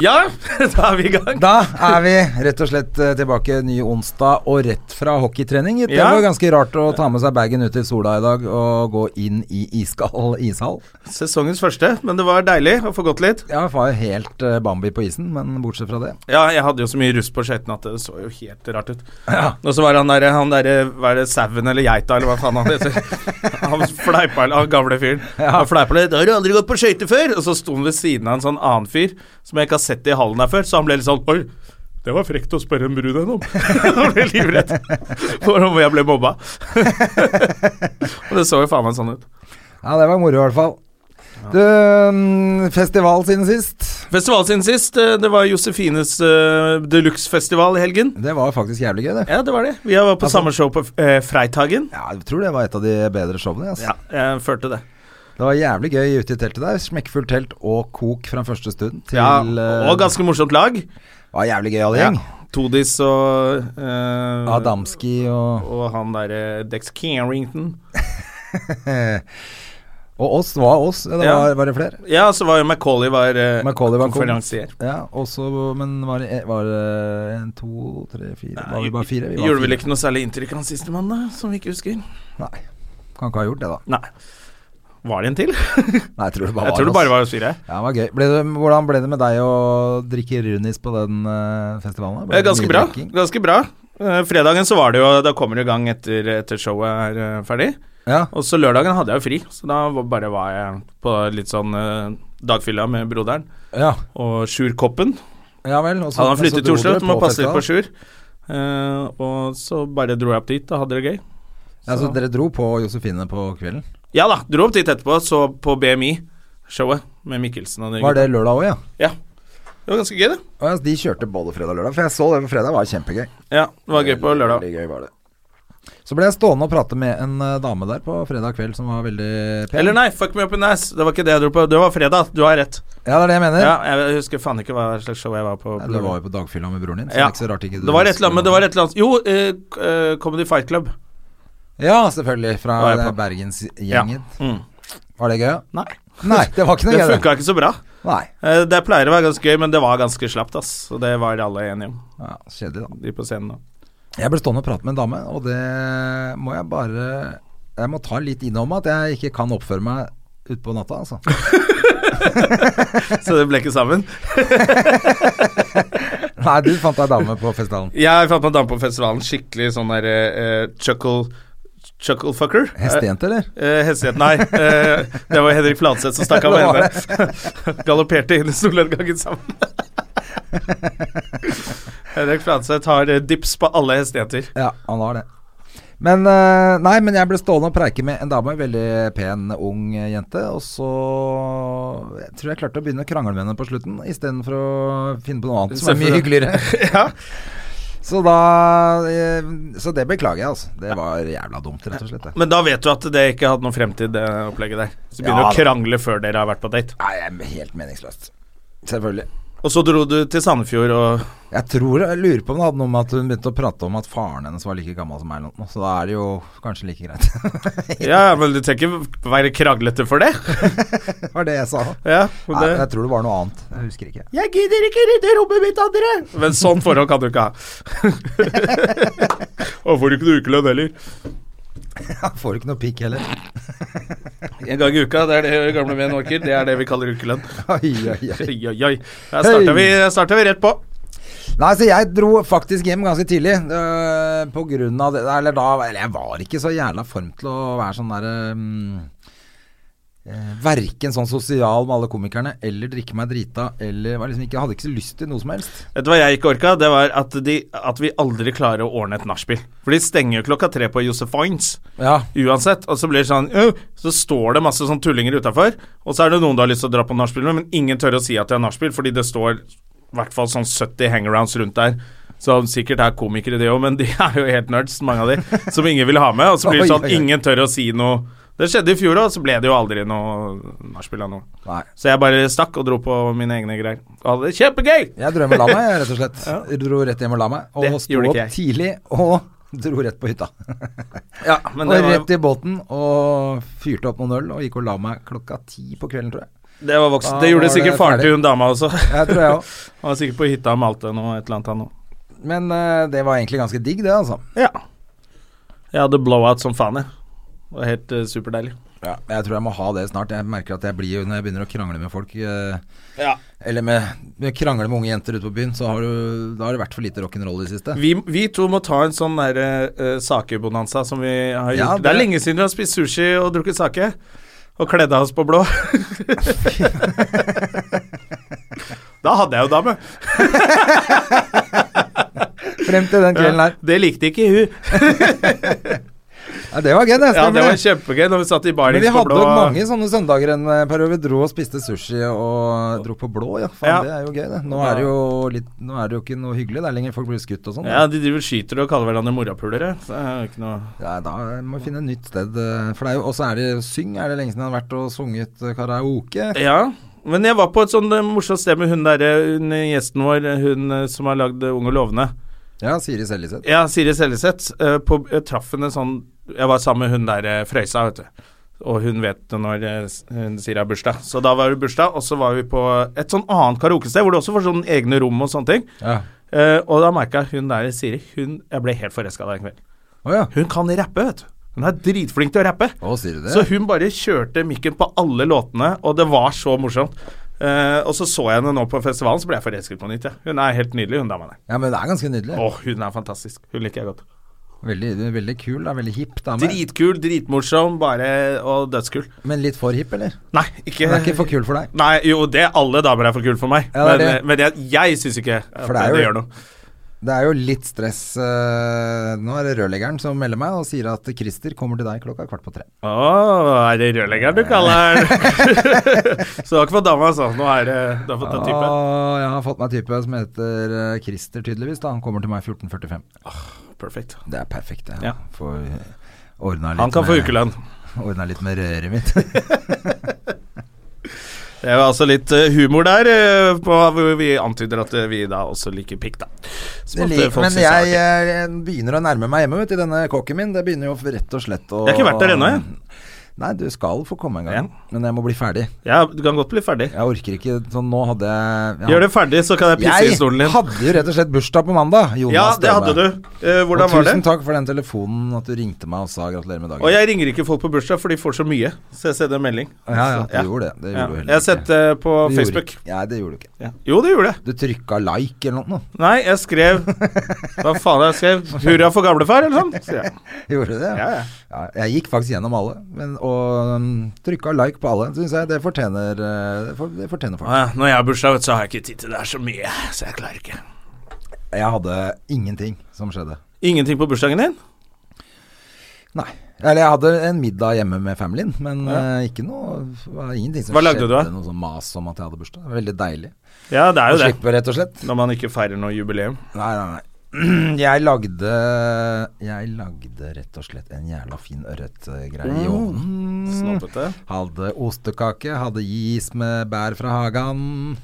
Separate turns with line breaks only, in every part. Ja, da er vi i gang.
Da er vi rett og slett eh, tilbake ny onsdag og rett fra hockeytrening. Det
Ja.
var ganske rart å ta med seg bagen ut i sola i dag og gå inn i iskald ishall.
Sesongens første, men det var deilig å få gått litt.
Jeg var jo helt eh, Bambi på isen, men bortsett fra det.
Ja, jeg hadde jo så mye rust på skøytene at det så jo helt rart ut. Og så var han derre han der, Hva er det, sauen eller geita, eller hva faen han heter. Han fleipa, han gamle fyren. Han fleipa litt 'Har du aldri gått på skøyter før?' Og så sto han ved siden av en sånn annen fyr som jeg ikke har sett i hallen her før, så han ble litt sånn Oi. Det var frekt å spørre en brud en om. Han ble livredd for om jeg ble mobba. og det så jo faen meg sånn ut.
Ja, det var moro i hvert fall. Du, mm, festival siden sist.
Festival siden sist, eh, det var Josefines uh, Deluxe-festival i helgen.
Det var faktisk jævlig gøy, det.
Ja, det var det. Vi var på
Altså-
samme show på eh, Freitagen.
Ja, jeg tror det var et av de bedre showene. ass.
Ja, jeg følte det.
Det var jævlig gøy ute i teltet der. Smekkfullt telt og kok fra første stund til
Ja,
eh,
og ganske morsomt lag.
Det var jævlig gøy, alle gjeng.
Todis og eh,
Adamski og
Og han derre Dex Carrington.
Eh, Og oss var oss. Det
Ja.
var, var det flere?
Ja, så var jo Macauley var, eh,
Macaulay var kom-
konferansier.
Ja, også, men var det, var det en, to, tre, fire Var vi bare fire? Vi var
Gjorde vel
fire.
ikke noe særlig inntrykk han sistemann, da, som vi ikke husker?
Nei. Kan ikke ha gjort det, da.
Nei. Var det en til?
Nei, jeg tror det bare
Jeg tror det
oss.
bare var oss fire.
Ja, det var gøy. Ble det, hvordan ble det med deg å drikke Runis på den eh, festivalen? da? Ble
Eh,
det
Ganske
mye
bra.
drikking?
Ganske bra. Eh, Fredagen så var det jo Da kommer det i gang etter, etter showet er eh, ferdig.
Ja.
Og så lørdagen hadde jeg jo fri, så da var- bare var jeg på litt sånn eh, dagfylla med broderen
ja.
og Sjur Koppen.
Ja vel. og så-
Hadde han
så
flyttet til
dro
Oslo,
dere
så må passe litt på Sjur.
festival.
Eh, og så bare dro jeg opp dit og hadde det gøy.
Ja, så dere dro på Josefine på kvelden?
Ja da, dro opp dit etterpå, så på BMI-showet med Mikkelsen og de
Var
gutta.
det lørdag òg, ja?
Ja. Det var ganske gøy, det.
Å, ja, så de kjørte både fredag og lørdag, for jeg så det på fredag. var kjempegøy.
Ja, det var gøy på lørdag.
Veldig gøy var det. Så ble jeg stående og prate med en eh, dame der på fredag kveld som var veldig pen.
Eller nei, fuck me up in the ass. Det var ikke det jeg dro på. Det var fredag, du har rett.
Ja, det er det jeg mener.
Ja, jeg husker faen ikke hva slags show jeg var på.
Nei, Du var jo på dagfylla med broren din, så det
Ja.
er ikke så rart ikke du
Det var et eller annet, men det var et eller annet Jo, eh, k- eh, Comedy Fight Club.
Ja, selvfølgelig. Fra
Det var jeg på.
Bergensgjengen.
Mm.
Var det gøy? ja?
Nei.
Nei, det var ikke
Det
noe gøy. det.
funka ikke så bra.
Nei.
Eh, Det pleier å være ganske gøy, men det var ganske slapt, ass. Og det var alle enige om,
Ja, Kjedelig, da.
de på scenen. nå.
Jeg ble stående og prate med en dame, og det må jeg bare Jeg må ta litt innom at jeg ikke kan oppføre meg utpå natta, altså.
Så det ble ikke sammen.
Nei, du fant deg dame på festivalen.
Jeg fant meg en dame på festivalen, skikkelig sånn derre eh, chuckle Chucklefucker.
Hestejente, eller?
Eh, hestejente, nei. Eh, det var Henrik Fladseth som stakk av
Det var
med henne. Galopperte inn i solnedgangen sammen. Henrik Fladseth har eh, dips på alle hestejenter.
Ja, han har det. Men eh, Nei, men jeg ble stående og preike med en dame, veldig pen, ung eh, jente. Og så jeg tror jeg klarte å begynne å krangle med henne på slutten, istedenfor å finne på noe annet som er mye hyggeligere.
ja.
Så da eh, Så det beklager jeg, altså. Det var jævla dumt, rett og slett. det.
Men da vet du at det ikke hadde noen fremtid, det opplegget der. Så begynner du
Ja,
å
da.
krangle før dere har vært på date.
Nei, det er helt meningsløst. Selvfølgelig.
Og så dro du til Sandefjord og
Jeg tror, jeg lurer på om det hadde noe med at hun begynte å prate om at faren hennes var like gammel som meg, eller noe. så da er det jo kanskje like greit.
Ja, men du trenger ikke være kraglete for det.
det var det jeg sa.
Ja, og
Nei,
det.
jeg tror det var noe annet. Jeg husker ikke.
Jeg gidder ikke rydde rommet mitt, andre! Men sånn forhold kan du ikke ha. og får du ikke noe ukelønn heller.
Jeg får ikke noe pikk heller.
En gang i uka, det er det gamle menn orker. Det er det vi kaller ukelønn.
Oi, oi, oi.
Oi, oi, oi. Der starta vi, der starta vi rett på.
Nei, så jeg dro faktisk hjem ganske tidlig. øh, på grunn av det Eller da Eller jeg var ikke så jævla form til å være sånn derre mm, eh, Verken sånn sosial med alle komikerne eller drikke meg drita eller var liksom ikke, Jeg hadde ikke så lyst til noe som helst.
Vet du hva jeg ikke orka? Det var at, de, at vi aldri klarer å ordne et nachspiel. For de stenger jo klokka tre på Josefines.
Ja.
Uansett, og så blir det sånn «Åh», Så står det masse sånn tullinger utafor, og så er det noen du har lyst til å dra på nachspiel med, men ingen tør å si at det er nachspiel, fordi det står i hvert fall sånn 70 hangarounds rundt der. Som sikkert er komikere, de òg, men de er jo helt nerds, mange av de. Som ingen vil ha med. Og så blir det
Oi,
sånn
oi, oi.
ingen tør å si noe. Det skjedde i fjor òg, så ble det jo aldri noe nachspiel av noe.
Nei.
Så jeg bare stakk og dro på mine egne greier. Og hadde det kjempegøy!
Jeg dro hjem og la meg, rett og slett. Dro rett hjem og la meg. Og
Det
sto
gjorde ikke
opp
jeg.
tidlig og dro rett på hytta.
Ja, men
og
det var,
rett i båten og fyrte opp noen øl og gikk og la meg klokka ti på kvelden, tror jeg.
det var voksen.
Da
Det gjorde
var det
sikkert faren
ferdig.
til hun dama også.
Jeg tror jeg òg.
Han var sikkert på hytta og malte noe et eller annet, han òg.
Men eh, det var egentlig ganske digg, det, altså.
Ja. Jeg hadde blowout som faen, jeg. Det var helt eh, superdeilig.
Ja, jeg tror jeg må ha det snart. Jeg merker at jeg blir jo når jeg begynner å krangle med folk eh,
Ja.
Eller med, med krangle med unge jenter ute på byen, så har du, da har det vært for lite rock'n'roll i det siste.
Vi, vi to må ta en sånn der, eh, sakebonanza som vi har gjort.
Ja,
det...
det-
er lenge siden vi har spist sushi og drukket sake. Og kledd av oss på blå. da hadde jeg jo dame.
Frem til den kvelden her.
Det likte ikke hun.
Ja, det var gøy, det.
Ja,
stemmer
Det var
det.
kjempegøy når vi satt i
Men
barings
vi
på
hadde
blå.
jo mange sånne søndager en eh, periode. Vi dro og spiste sushi og dro på blå, ja. Faen,
Ja.
det er jo gøy, det. Nå er det jo, litt, nå er det jo ikke noe hyggelig der lenger. Folk blir skutt og sånn.
Ja, De driver og skyter og kaller hverandre morapulere. Så det er jo ikke noe
Ja, da må vi finne et nytt sted. eh, For det er jo, og så er det syng. Er det lenge siden jeg har vært og sunget eh, karaoke?
Ja, men jeg var på et sånn eh, morsomt sted med hun der, eh, hun, eh, gjesten vår, eh, hun eh, som har lagd eh, Ung og lovende.
Ja, Siri Seljeseth.
Ja, Siri Seljeseth. eh, på- Jeg traff henne sånn Jeg var sammen med hun der eh, Frøysa, vet du. Og hun vet det når eh, s- hun sier det er bursdag. Så da var det bursdag, og så var vi på et sånn annet karaokested hvor du også får sånne egne rom og sånne ting.
Ja.
Eh, og da merka jeg hun der Siri hun, Jeg ble helt forelska den kvelden.
Å ja.
Hun kan rappe, vet du. Hun er dritflink til å rappe.
Å, sier du det?
Så hun bare kjørte mikken på alle låtene, og det var så morsomt. Eh, og så så jeg henne nå på festivalen, så ble jeg forelsket på nytt. Ja. Hun er helt nydelig, hun dama der.
Ja, men det er ganske nydelig.
Å, hun er fantastisk. Hun liker jeg godt.
Veldig, veldig kul, da. Veldig hipp dame.
Dritkul, dritmorsom, bare og dødskul.
Men litt for hipp, eller?
Nei, ikke
Hun er ikke for kul for deg.
Nei, jo, det alle damer er for kule for meg,
Ja, det
men,
er
eh, men jeg, jeg syns ikke at
For
det,
det er jo-
gjør noe.
Det er jo litt stress eh, Nå er det rørleggeren som melder meg og sier at Christer kommer til deg klokka kvart på tre.
Å, er det rørleggeren du kaller den? så det var ikke for dama, altså. Nå er det Du har fått en type.
Å, Ah, jeg har fått meg type som heter eh, Christer, tydeligvis. da Han kommer til meg 14.45.
Perfekt.
Det er perfekt, det.
Ja.
Får ordna litt
Han kan få
med-
ukelønn.
Ordna litt med røret mitt.
Det var altså litt eh, humor der, eh, på, hvor vi antyder at eh, vi da også liker pikk, da. Som at,
Det
eh,
lik,
folk
men
synes er
jeg
artig.
eh, begynner å nærme meg hjemme, vet du. Denne kåken min, det begynner jo rett og slett å
Jeg har ikke vært der ennå, jeg.
Nei, du skal få komme en gang.
Ja.
Men jeg må bli ferdig.
Ja, du kan godt bli ferdig.
Jeg orker ikke sånn Nå hadde jeg
Gjør det ferdig, så kan jeg pisse i stolen
Jeg
din.
hadde jo rett og slett bursdag på mandag. Jonas
Ja, det hadde du.
Stemme.
Eh, hvordan
og
var det?
Tusen takk for den telefonen at du ringte meg og sa gratulerer med dagen.
Og jeg ringer ikke folk på bursdag, for de får så mye. Så jeg sender en melding.
ja, ja, du
Ja.
gjorde det. Det
Ja.
gjorde du
Jeg
heller
har sett det på
Du gjorde
Facebook.
ikke- Nei, det gjorde du ikke.
Ja. Jo, det gjorde jeg.
Du trykka like eller noe.
Nei, jeg skrev Hva faen jeg skrev? Hurra for gamlefar, eller sånn? sier jeg.
Gjorde du det?
Ja, ja.
Ja, jeg gikk faktisk gjennom alle, men, og um, trykka like på alle. Syns jeg det fortjener eh, det for- Det fortjener folk.
Å ja, Når jeg har bursdag, vet du, så har jeg ikke tid til det. Det er så mye, så jeg klarer ikke.
Jeg hadde ingenting som skjedde.
Ingenting på bursdagen din?
Nei. Eller jeg hadde en middag hjemme med familien, men eh, ikke noe det var Ingenting som
Hva lagde
skjedde.
du da?
Noe sånn mas om at jeg hadde bursdag. Det var Veldig deilig.
Ja, det er
Å
jo det.
slippe, rett og slett.
Når man ikke feirer noe jubileum.
Nei, nei, nei. Jeg lagde Jeg lagde rett og slett en jævla fin ørretgreie
Mm.
i ovnen.
Snobbete.
Hadde ostekake, hadde is med bær fra hagen.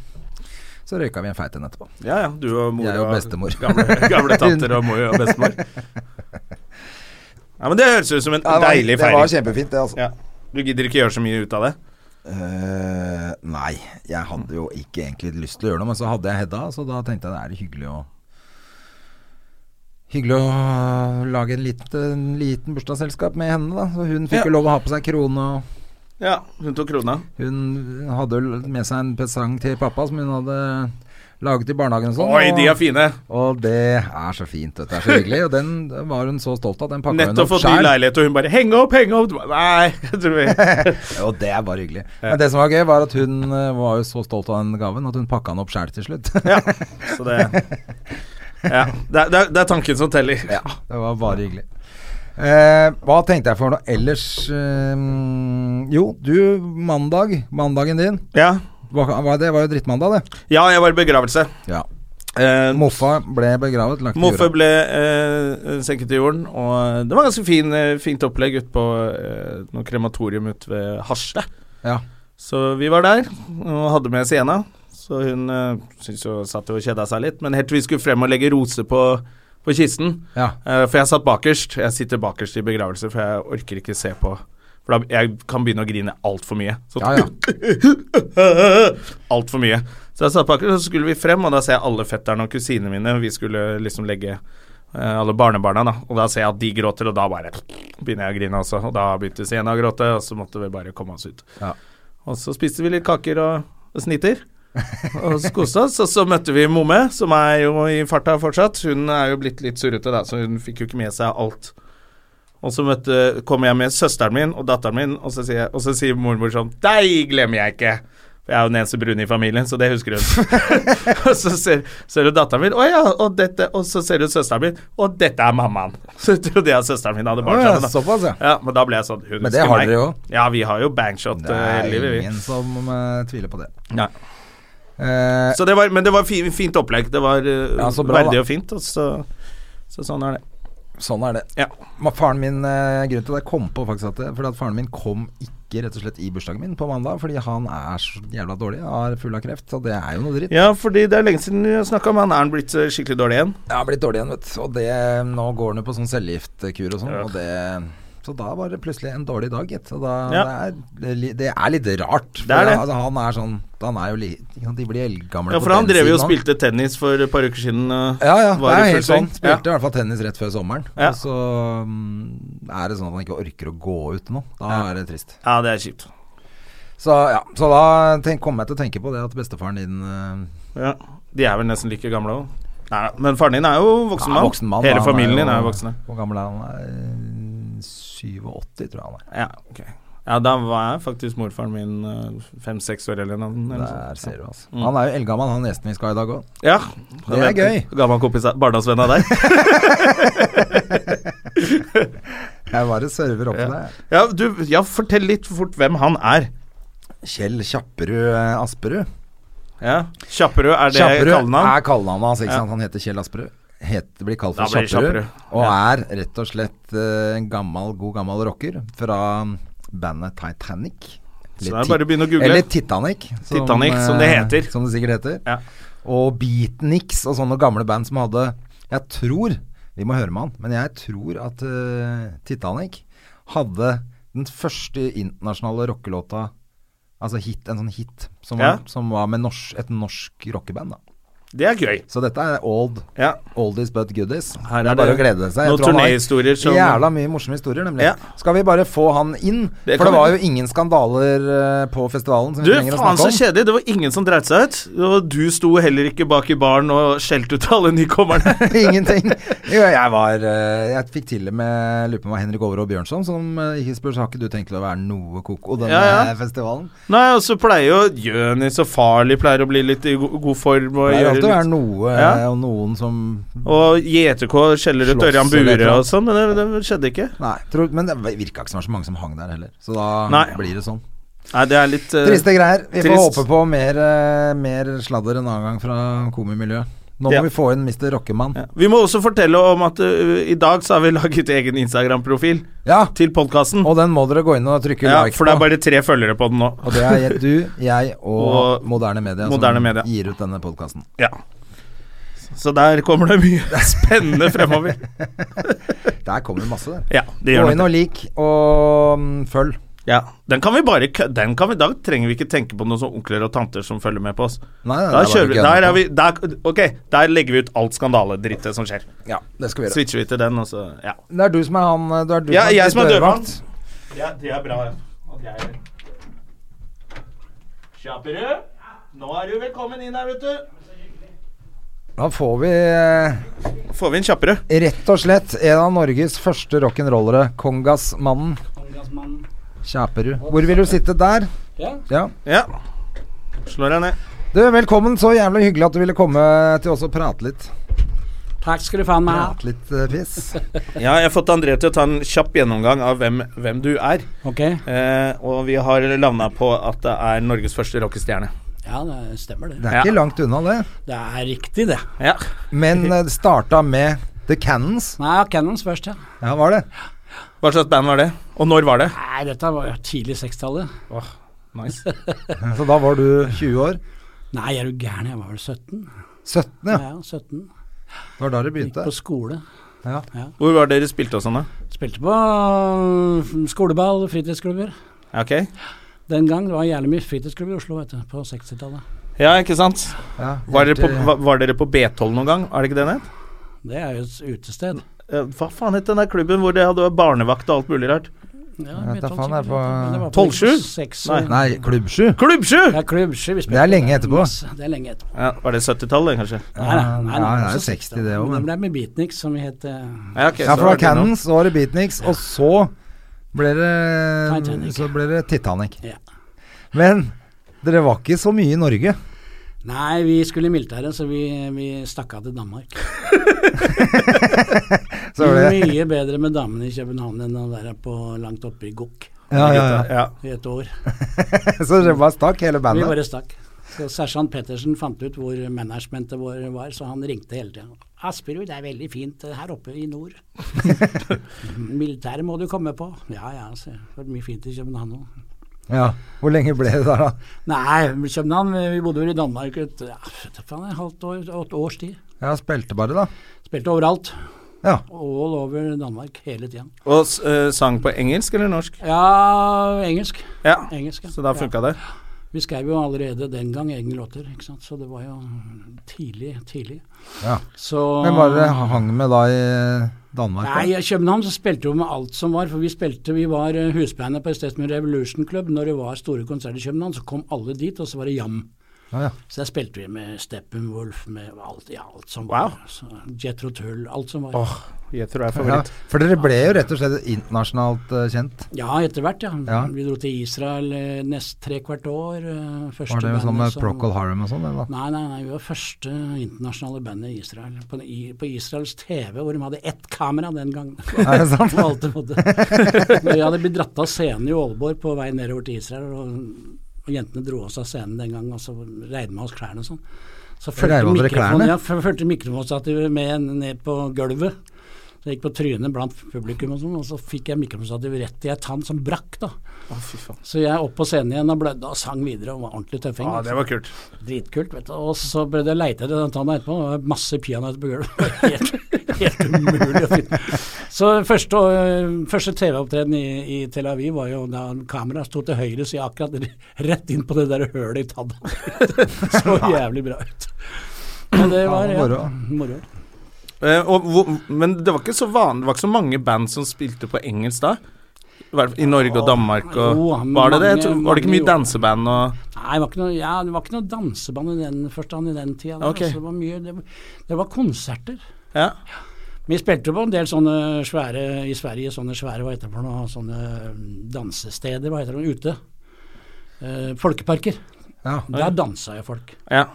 Så røyka vi en feit en etterpå.
Ja, ja. Du og mor
Jeg og bestemor.
Gamle, gamle tanter og mor og bestemor. Ja, men Det høres ut som en
Ja, det var-
deilig
Det var
feiring.
kjempefint, det, altså.
Ja. Du gidder ikke gjøre så mye ut av det?
Eh, nei, jeg hadde jo ikke egentlig lyst til å gjøre noe, men så hadde jeg Hedda, så da tenkte jeg det er hyggelig å Hyggelig å lage en liten, en liten bursdagsselskap med henne, da. Så hun fikk
Ja.
jo lov å ha på seg krone, og
Ja, hun tok krona.
hun hadde jo med seg en presang til pappa som hun hadde laget i barnehagen og sånn.
Oi,
og-
de er fine!
Og det er så fint, vet du. Det er så hyggelig. Og den var hun så stolt av. Den pakka hun
Nettopp
opp
fått ny
sjæl.
leilighet, og hun bare 'henge opp, henge opp'. Du bare, Nei, jeg tror vi
Og det var hyggelig. Men det som var gøy, var at hun eh, var jo så stolt av den gaven at hun pakka den opp sjæl til slutt.
Ja, så det Ja. Det er, det er- det er tanken som teller.
ja, det var bare hyggelig. Eh, hva tenkte jeg for noe ellers? Eh, jo, du, mandag, mandagen din,
Ja.
Hva, hva, det var jo drittmandag, det.
Ja, jeg var i begravelse.
Ja.
Eh,
Moffa ble begravet. Lagt i
Moffe
jorda.
ble eh, senket i jorden, og det var ganske fin, eh, fint opplegg ute på eh, noe krematorium ute ved Hasle.
Ja.
Så vi var der, og hadde med Siena. Så hun eh, syntes jo satt jo og kjeda seg litt, men helt til vi skulle frem og legge roser på, på kisten
Ja.
eh, For jeg satt bakerst. Jeg sitter bakerst i begravelse, for jeg orker ikke se på. For da, jeg kan begynne å grine altfor mye. Så
Ja, ja.
Altfor mye. Så jeg satt bak, og så skulle vi frem, og da ser jeg alle fetterne og kusinene mine. Vi skulle liksom legge eh, alle barnebarna, da. Og da ser jeg at de gråter, og da bare begynner jeg å grine også. Og da begynte Siena å gråte, og så måtte vi bare komme oss ut.
Ja.
Og så spiste vi litt kaker og snitter. og så koste oss, og så møtte vi Momme, som er jo i farta fortsatt. Hun er jo blitt litt surrete, da, så hun fikk jo ikke med seg alt. Og så møtte, kom jeg med søsteren min og datteren min, og så sier, jeg, og så sier mormor sånn Deg glemmer jeg ikke! For jeg er jo den eneste brune i familien, så det husker hun. og så ser, ser du datteren min, å ja, og dette Og så ser du søsteren min, og dette er mammaen. Så trodde jeg søsteren min hadde barn
Å, ja,
sammen. da.
såpass, ja.
ja, men da ble jeg sånn Hun
Men det
husker
har
meg.
dere jo.
Ja, vi har jo bangshot eh,
Det er
hele livet, vi.
ingen som eh, tviler på det.
Ja.
Eh,
Så det var, men det var fi, fint opplegg. Det var eh,
Ja, så bra,
verdig
da.
og fint. Og så, så sånn er det.
sånn er det.
Ja.
Ma- Faren min eh, Grunnen til at jeg kom på faktisk at det, Fordi at faren min kom ikke rett og slett i bursdagen min på mandag, fordi han er så jævla dårlig. Er full av kreft, så det er jo noe dritt.
ja, fordi det er lenge siden jeg snakka om han. Er han blitt eh, skikkelig dårlig igjen?
Jeg har blitt dårlig igjen, vet du. Og det, nå går han jo på sånn cellegiftkur og sånn,
Ja.
og det så da var det plutselig en dårlig dag, gitt. Og da,
Ja.
det, er, li- det er litt rart. For
Det er det.
Altså, han er sånn Han er jo li, ikke sant, De blir eldgamle
Ja,
på
for han
den
drev jo
siden
og
også.
spilte tennis for et par uker siden. og
Ja, ja. Det
var i
er
full
helt
sving.
sånn. Spilte i hvert fall tennis rett før sommeren.
Ja.
Og så mm, er det sånn at han ikke orker å gå ut nå. Da er det trist.
Ja, det er kjipt.
Så ja, så da tenk, kom jeg til å tenke på det at bestefaren din eh,
Ja. De er vel nesten like gamle òg. Nei da, men faren din er jo voksen
er
mann.
voksen mann.
Hele
Han
familien
jo-
din er jo voksne.
Hvor gammel er han? Eh, 87, tror jeg han er.
Ja, ok. Ja, da var jeg faktisk morfaren min fem-seks år eller noe.
Der ser du, altså.
Mm.
Han er jo eldgammel, han gjesten vi skal ha i dag òg.
Ja.
Det er gøy.
Gammel kompis av barndomsvenn av deg.
Jeg bare server opp
Ja.
til deg.
Ja, du, ja, fortell litt fort hvem han er.
Kjell Kjapperud eh, Asperud.
Ja. Kjapperød, er det
Kjapperud
kallenavn?
er kallenavnet hans, ikke
Ja.
sant. Han heter Kjell Asperud. Het, blir kalt
Da
for
blir det
Kjapperud.
Kjapperud.
Og er rett og slett eh, en gammel, god gammel rocker fra bandet Titanic.
Så
Eller
det er bare å begynne å google.
Eller Titanic.
Titanic, som det
eh,
heter.
Som det sikkert heter.
Ja.
Og Beatniks og sånne gamle band som hadde Jeg tror Vi må høre med han, men jeg tror at eh, Titanic hadde den første internasjonale rockelåta Altså hit, en sånn hit som,
Ja.
var, som var med norsk, et norsk rockeband. Da.
Det er gøy.
Så dette er old
Ja.
oldies but goodies.
Her
det
er
er bare
det
å glede seg.
noen
tror han har
turnéhistorier som-
Jævla mye morsomme historier, nemlig.
Ja.
Skal vi bare få han inn?
Det
for
kan
det var
vi.
jo ingen skandaler eh, på festivalen som
Du,
vi trenger å
faen
snakke
så
om.
kjedelig. Det var ingen som dreit seg ut. Og du sto heller ikke bak i baren og skjelte ut alle nykommerne.
Ingenting. Jo, jeg var eh, Jeg fikk til og med Lurer på om det var Henrik Overå Bjørnson som eh, ikke spør Har ikke du tenkt til å være noe koko denne
Ja, ja.
eh, festivalen?
Nei, og så pleier jo Jonis og Farley pleier å bli litt i go god form og
Det er
gjøre
alltid å være
litt
noe
Ja.
eh, og noen som
Og JTK skjeller ut
Slåss
Ørjan
eller et
Bure
eller
og sånn, men det, det skjedde ikke.
Nei, tror, men det virka ikke som det var så mange som hang der heller. Så da
Nei.
blir det sånn.
Nei, det er litt eh,
Triste greier. Vi får
trist.
håpe på mer, eh, mer sladder en annen gang fra komimiljøet. Nå må
Ja.
vi få inn Mr. Rockemann.
ja. Vi må også fortelle om at eh, i dag så har vi laget egen Instagram-profil
Ja.
til podkasten.
Og den må dere gå inn og trykke
Ja,
like
for det er
på.
bare tre følgere på den nå.
Og det er du, jeg og,
Og
Moderne Media
Moderne
som
Media.
gir ut denne podkasten.
Ja. Så der kommer det mye spennende fremover.
Der kommer det masse, der.
Ja, det
Gå
gjør
inn
det.
og lik og mm, følg.
Ja. Den kan vi bare kø- den kan vi, Da trenger vi ikke tenke på noen sånne onkler og tanter som følger med på oss.
Nei,
da
nei, det er bare
kjører vi,
å gønne
der, er
på.
vi der, Ok, der legger vi ut alt skandaledrittet som skjer.
Ja, det skal vi gjøre.
Switcher vi til den, og så Ja,
Det er du som er han eh, du er du
ja
som er
jeg som er
dørvakt.
dørvakt. Ja, det er bra. at jeg- Kjapperud, nå er du velkommen inn her, vet du.
Da får vi eh,
Får vi en Kjapperud?
rett og slett en av Norges første rock'n'rollere. Kongasmannen. Kjæperud. Hvor vil du sitte der?
Ja.
ja.
Ja. Slår deg ned.
Du, velkommen. Så jævlig hyggelig at du ville komme til oss og prate litt.
Takk skal du faen meg ha.
Prate litt eh, piss.
Ja, jeg har fått André til å ta en kjapp gjennomgang av hvem, hvem du er.
Ok,
Eh, og vi har landa på at det er Norges første rockestjerne.
Ja, det stemmer det.
Det er ikke langt unna, det.
Det er riktig, det.
Ja.
Men eh, det starta med The Cannons.
Nei, Cannons først, ja.
Ja, var det?
Hva slags band var det? Og når var det?
Nei, dette var jo tidlig 60-tallet.
Nice.
Så da var du 20 år.
Nei, er du gæren, jeg var vel 17?
17, ja.
Ja, 17.
Det var da det
Gikk
begynte.
på skole.
Ja.
Hvor var det dere spilte og sånn, da?
Spilte på øh, skoleball, fritidsklubber.
Ja, Ok.
Den gang det var jævlig mye fritidsklubber i Oslo, vet du, på 60-tallet.
Ja, ikke sant?
ja. eh,
Var dere, på, var, var dere på B12 noen gang? Er det ikke det den het?
Det er jo et utested.
Eh, Hva faen het den der klubben hvor det hadde barnevakt og alt mulig rart?
Ja,
vet da
Beethoven
faen, jeg er
sikkert,
på-
men det var på liksom
Tollsju?
seks-
Nei.
Nei, Klubb 7.
Klubb 7!
Det er klubb, sju, vi
Det er lenge
spilte
etterpå.
masse. Det er lenge etterpå.
Ja, var det 70-tallet, kanskje?
Ja, ja, det er jo 60 det også, men-
Men det er med Beatniks, som vi het eh,
Ja, ok, så
Ja, for det var
det noe.
Cannons, så var det Beatniks, og så ble det,
Titanic.
så ble det Titanic.
Ja.
Men dere var ikke så mye i Norge.
Nei, vi skulle i militæret, så vi, vi stakk av til Danmark.
Så var det
Mye bedre med damene i København enn å være på langt oppe i Gokk
Ja, ja, ja.
Ja.
i et år.
Så dere bare stakk, hele
Vi
bandet.
bare stakk. Så Sersjant Pettersen fant ut hvor managementet vår var, så han ringte hele tida. 'Asperud, det er veldig fint eh, her oppe i nord. Militæret må du komme på.' Ja ja, så det var mye fint i København òg.
Ja. Hvor lenge ble det der, da?
Nei, København, eh, vi bodde vel i Danmark et, ja, vet du faen, et halvt år, et års tid.
Ja, spilte bare, da.
Spilte overalt.
Ja.
All over Danmark hele tida.
Og s- eh, sang på engelsk eller norsk?
Ja, engelsk.
Ja.
engelsk ja.
Så da funka det?
Vi skrev jo allerede den gang egne låter, ikke sant? så det var jo tidlig, tidlig.
Ja.
Så
Hvem var det dere hang med da i eh, Danmark? da?
Nei, i København så spilte vi med alt som var, for vi spilte, vi var eh, husbandet på Estetismen Revolution Club. Når det var store konserter i København, så kom alle dit, og så var det jam.
Ja, ja.
Så der spilte vi med Steppenwolf, med alt, ja, alt som var. Så Jethro Tull, alt som var.
Jeg tror jeg er
Ja,
favoritt.
for dere ble jo rett og slett internasjonalt eh, kjent.
Ja, etter hvert, ja.
Ja.
Vi dro til Israel eh, nest trekvart år. eh, Første
Var det jo
bandet
sånn med
som-
Procol Harum og sånn? eller da?
Nei, nei, nei, vi var første internasjonale bandet i Israel. På, i, på Israels TV, hvor de hadde ett kamera den gangen.
Er det sant?
På alt de hadde. Vi hadde blitt dratt av scenen i Aalborg på vei nedover til Israel, og, og jentene dro oss av scenen den gangen, og så reiv de av oss klærne og sånn. Så
Reiv av dere klærne?
mikrofonen- ja, f- fulgte mikrofonstativet med ned på gulvet. Så jeg gikk på trynet blant publikum og sånn, og så fikk jeg mikrofonstativet rett i ei tann som brakk, da.
Å, fy faen.
Så jeg opp på scenen igjen og blødde og sang videre og var ordentlig tøffing.
Ja,
altså.
det var kult.
Dritkult, vet du. Og så ble det leita etter den tanna etterpå. og Det var masse peanøtter på gulvet. Det var Helt, helt umulig å finne. Så første, øh, første TV-opptreden i, i Tel Aviv var jo da kameraet sto til høyre side, akkurat r- rett inn på det der hølet i tanna. Så jævlig bra ut. Men det var ja,
Moro.
moro.
Eh, og, hvor- men det var ikke så van, det var ikke så mange band som spilte på engelsk da? I hvert fall I Norge og Danmark og
Jo,
Var det det? Jeg
mange-
tror- Var det ikke
mange
mye danseband og
Nei, det var ikke noe, ja, det var ikke noe danseband i den forstand i den tida. der,
Ok.
altså, det, var mye, det, var, det var konserter.
Ja.
Vi spilte på en del sånne svære i Sverige, sånne svære, hva heter det for noe, sånne mm, dansesteder, hva heter det, ute. Eh, folkeparker.
Ja.
Der dansa jo folk,
ja.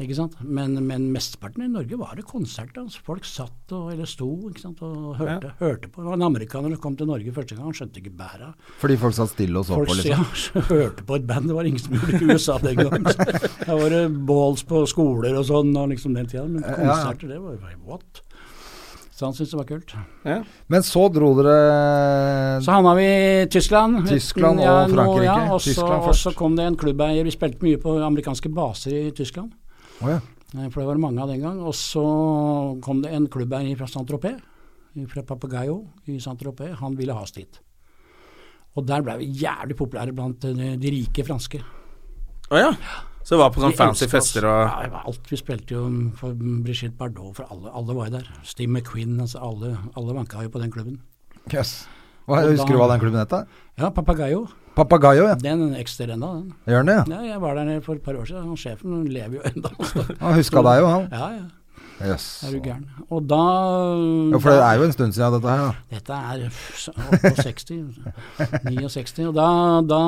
ikke sant. Men, men mesteparten i Norge var det konserter. Altså. Folk satt og, eller sto ikke sant? og hørte, hørte på. Det var en amerikaner som kom til Norge første gang, han skjønte ikke bæra.
Fordi folk satt stille og så
Folk
på,
ja,
liksom.
hørte på et band, det var ingen som gjorde det i USA den gangen. Da var det balls på skoler og sånn, og liksom den tida. Men
ja.
konserter, det var jo what? Så han syntes det var kult.
ja.
Men så dro eh, dere
Så havna vi i Tyskland.
Tyskland og
nå-
Frankrike.
Ja, og, så,
Tyskland
og
først.
så kom det en klubbeier. Vi spilte mye på amerikanske baser i Tyskland,
Å ja.
eh, for det var det mange av den gang. Og så kom det en klubbeier fra Saint-Tropez, fra Papagayo i Saint-Tropez. Han ville ha oss dit. Og der ble vi jævlig populære blant eh, de, de rike franske.
Å ja. Så det var på
De
sånne fancy
elsket oss.
fester og
ja, det var Alt. Vi spilte jo for Brigitte Bardot, for alle, alle var jo der. Steve McQueen, altså alle, alle vanka jo på den klubben.
Jøss. Hva, husker du hva den klubben het? da?
Ja, Papagayo.
Papagayo, ja.
Den eksisterer ennå, den.
Gjør den det? ja?
Ja, jeg var der nede for et par år siden. Han sjefen han lever jo ennå.
Han huska deg jo, han.
Ja, ja.
Jøss.
Er du gæren. Og da
Ja, for det er jo en stund siden dette her, da.
Dette er 68, 69. Og da, da,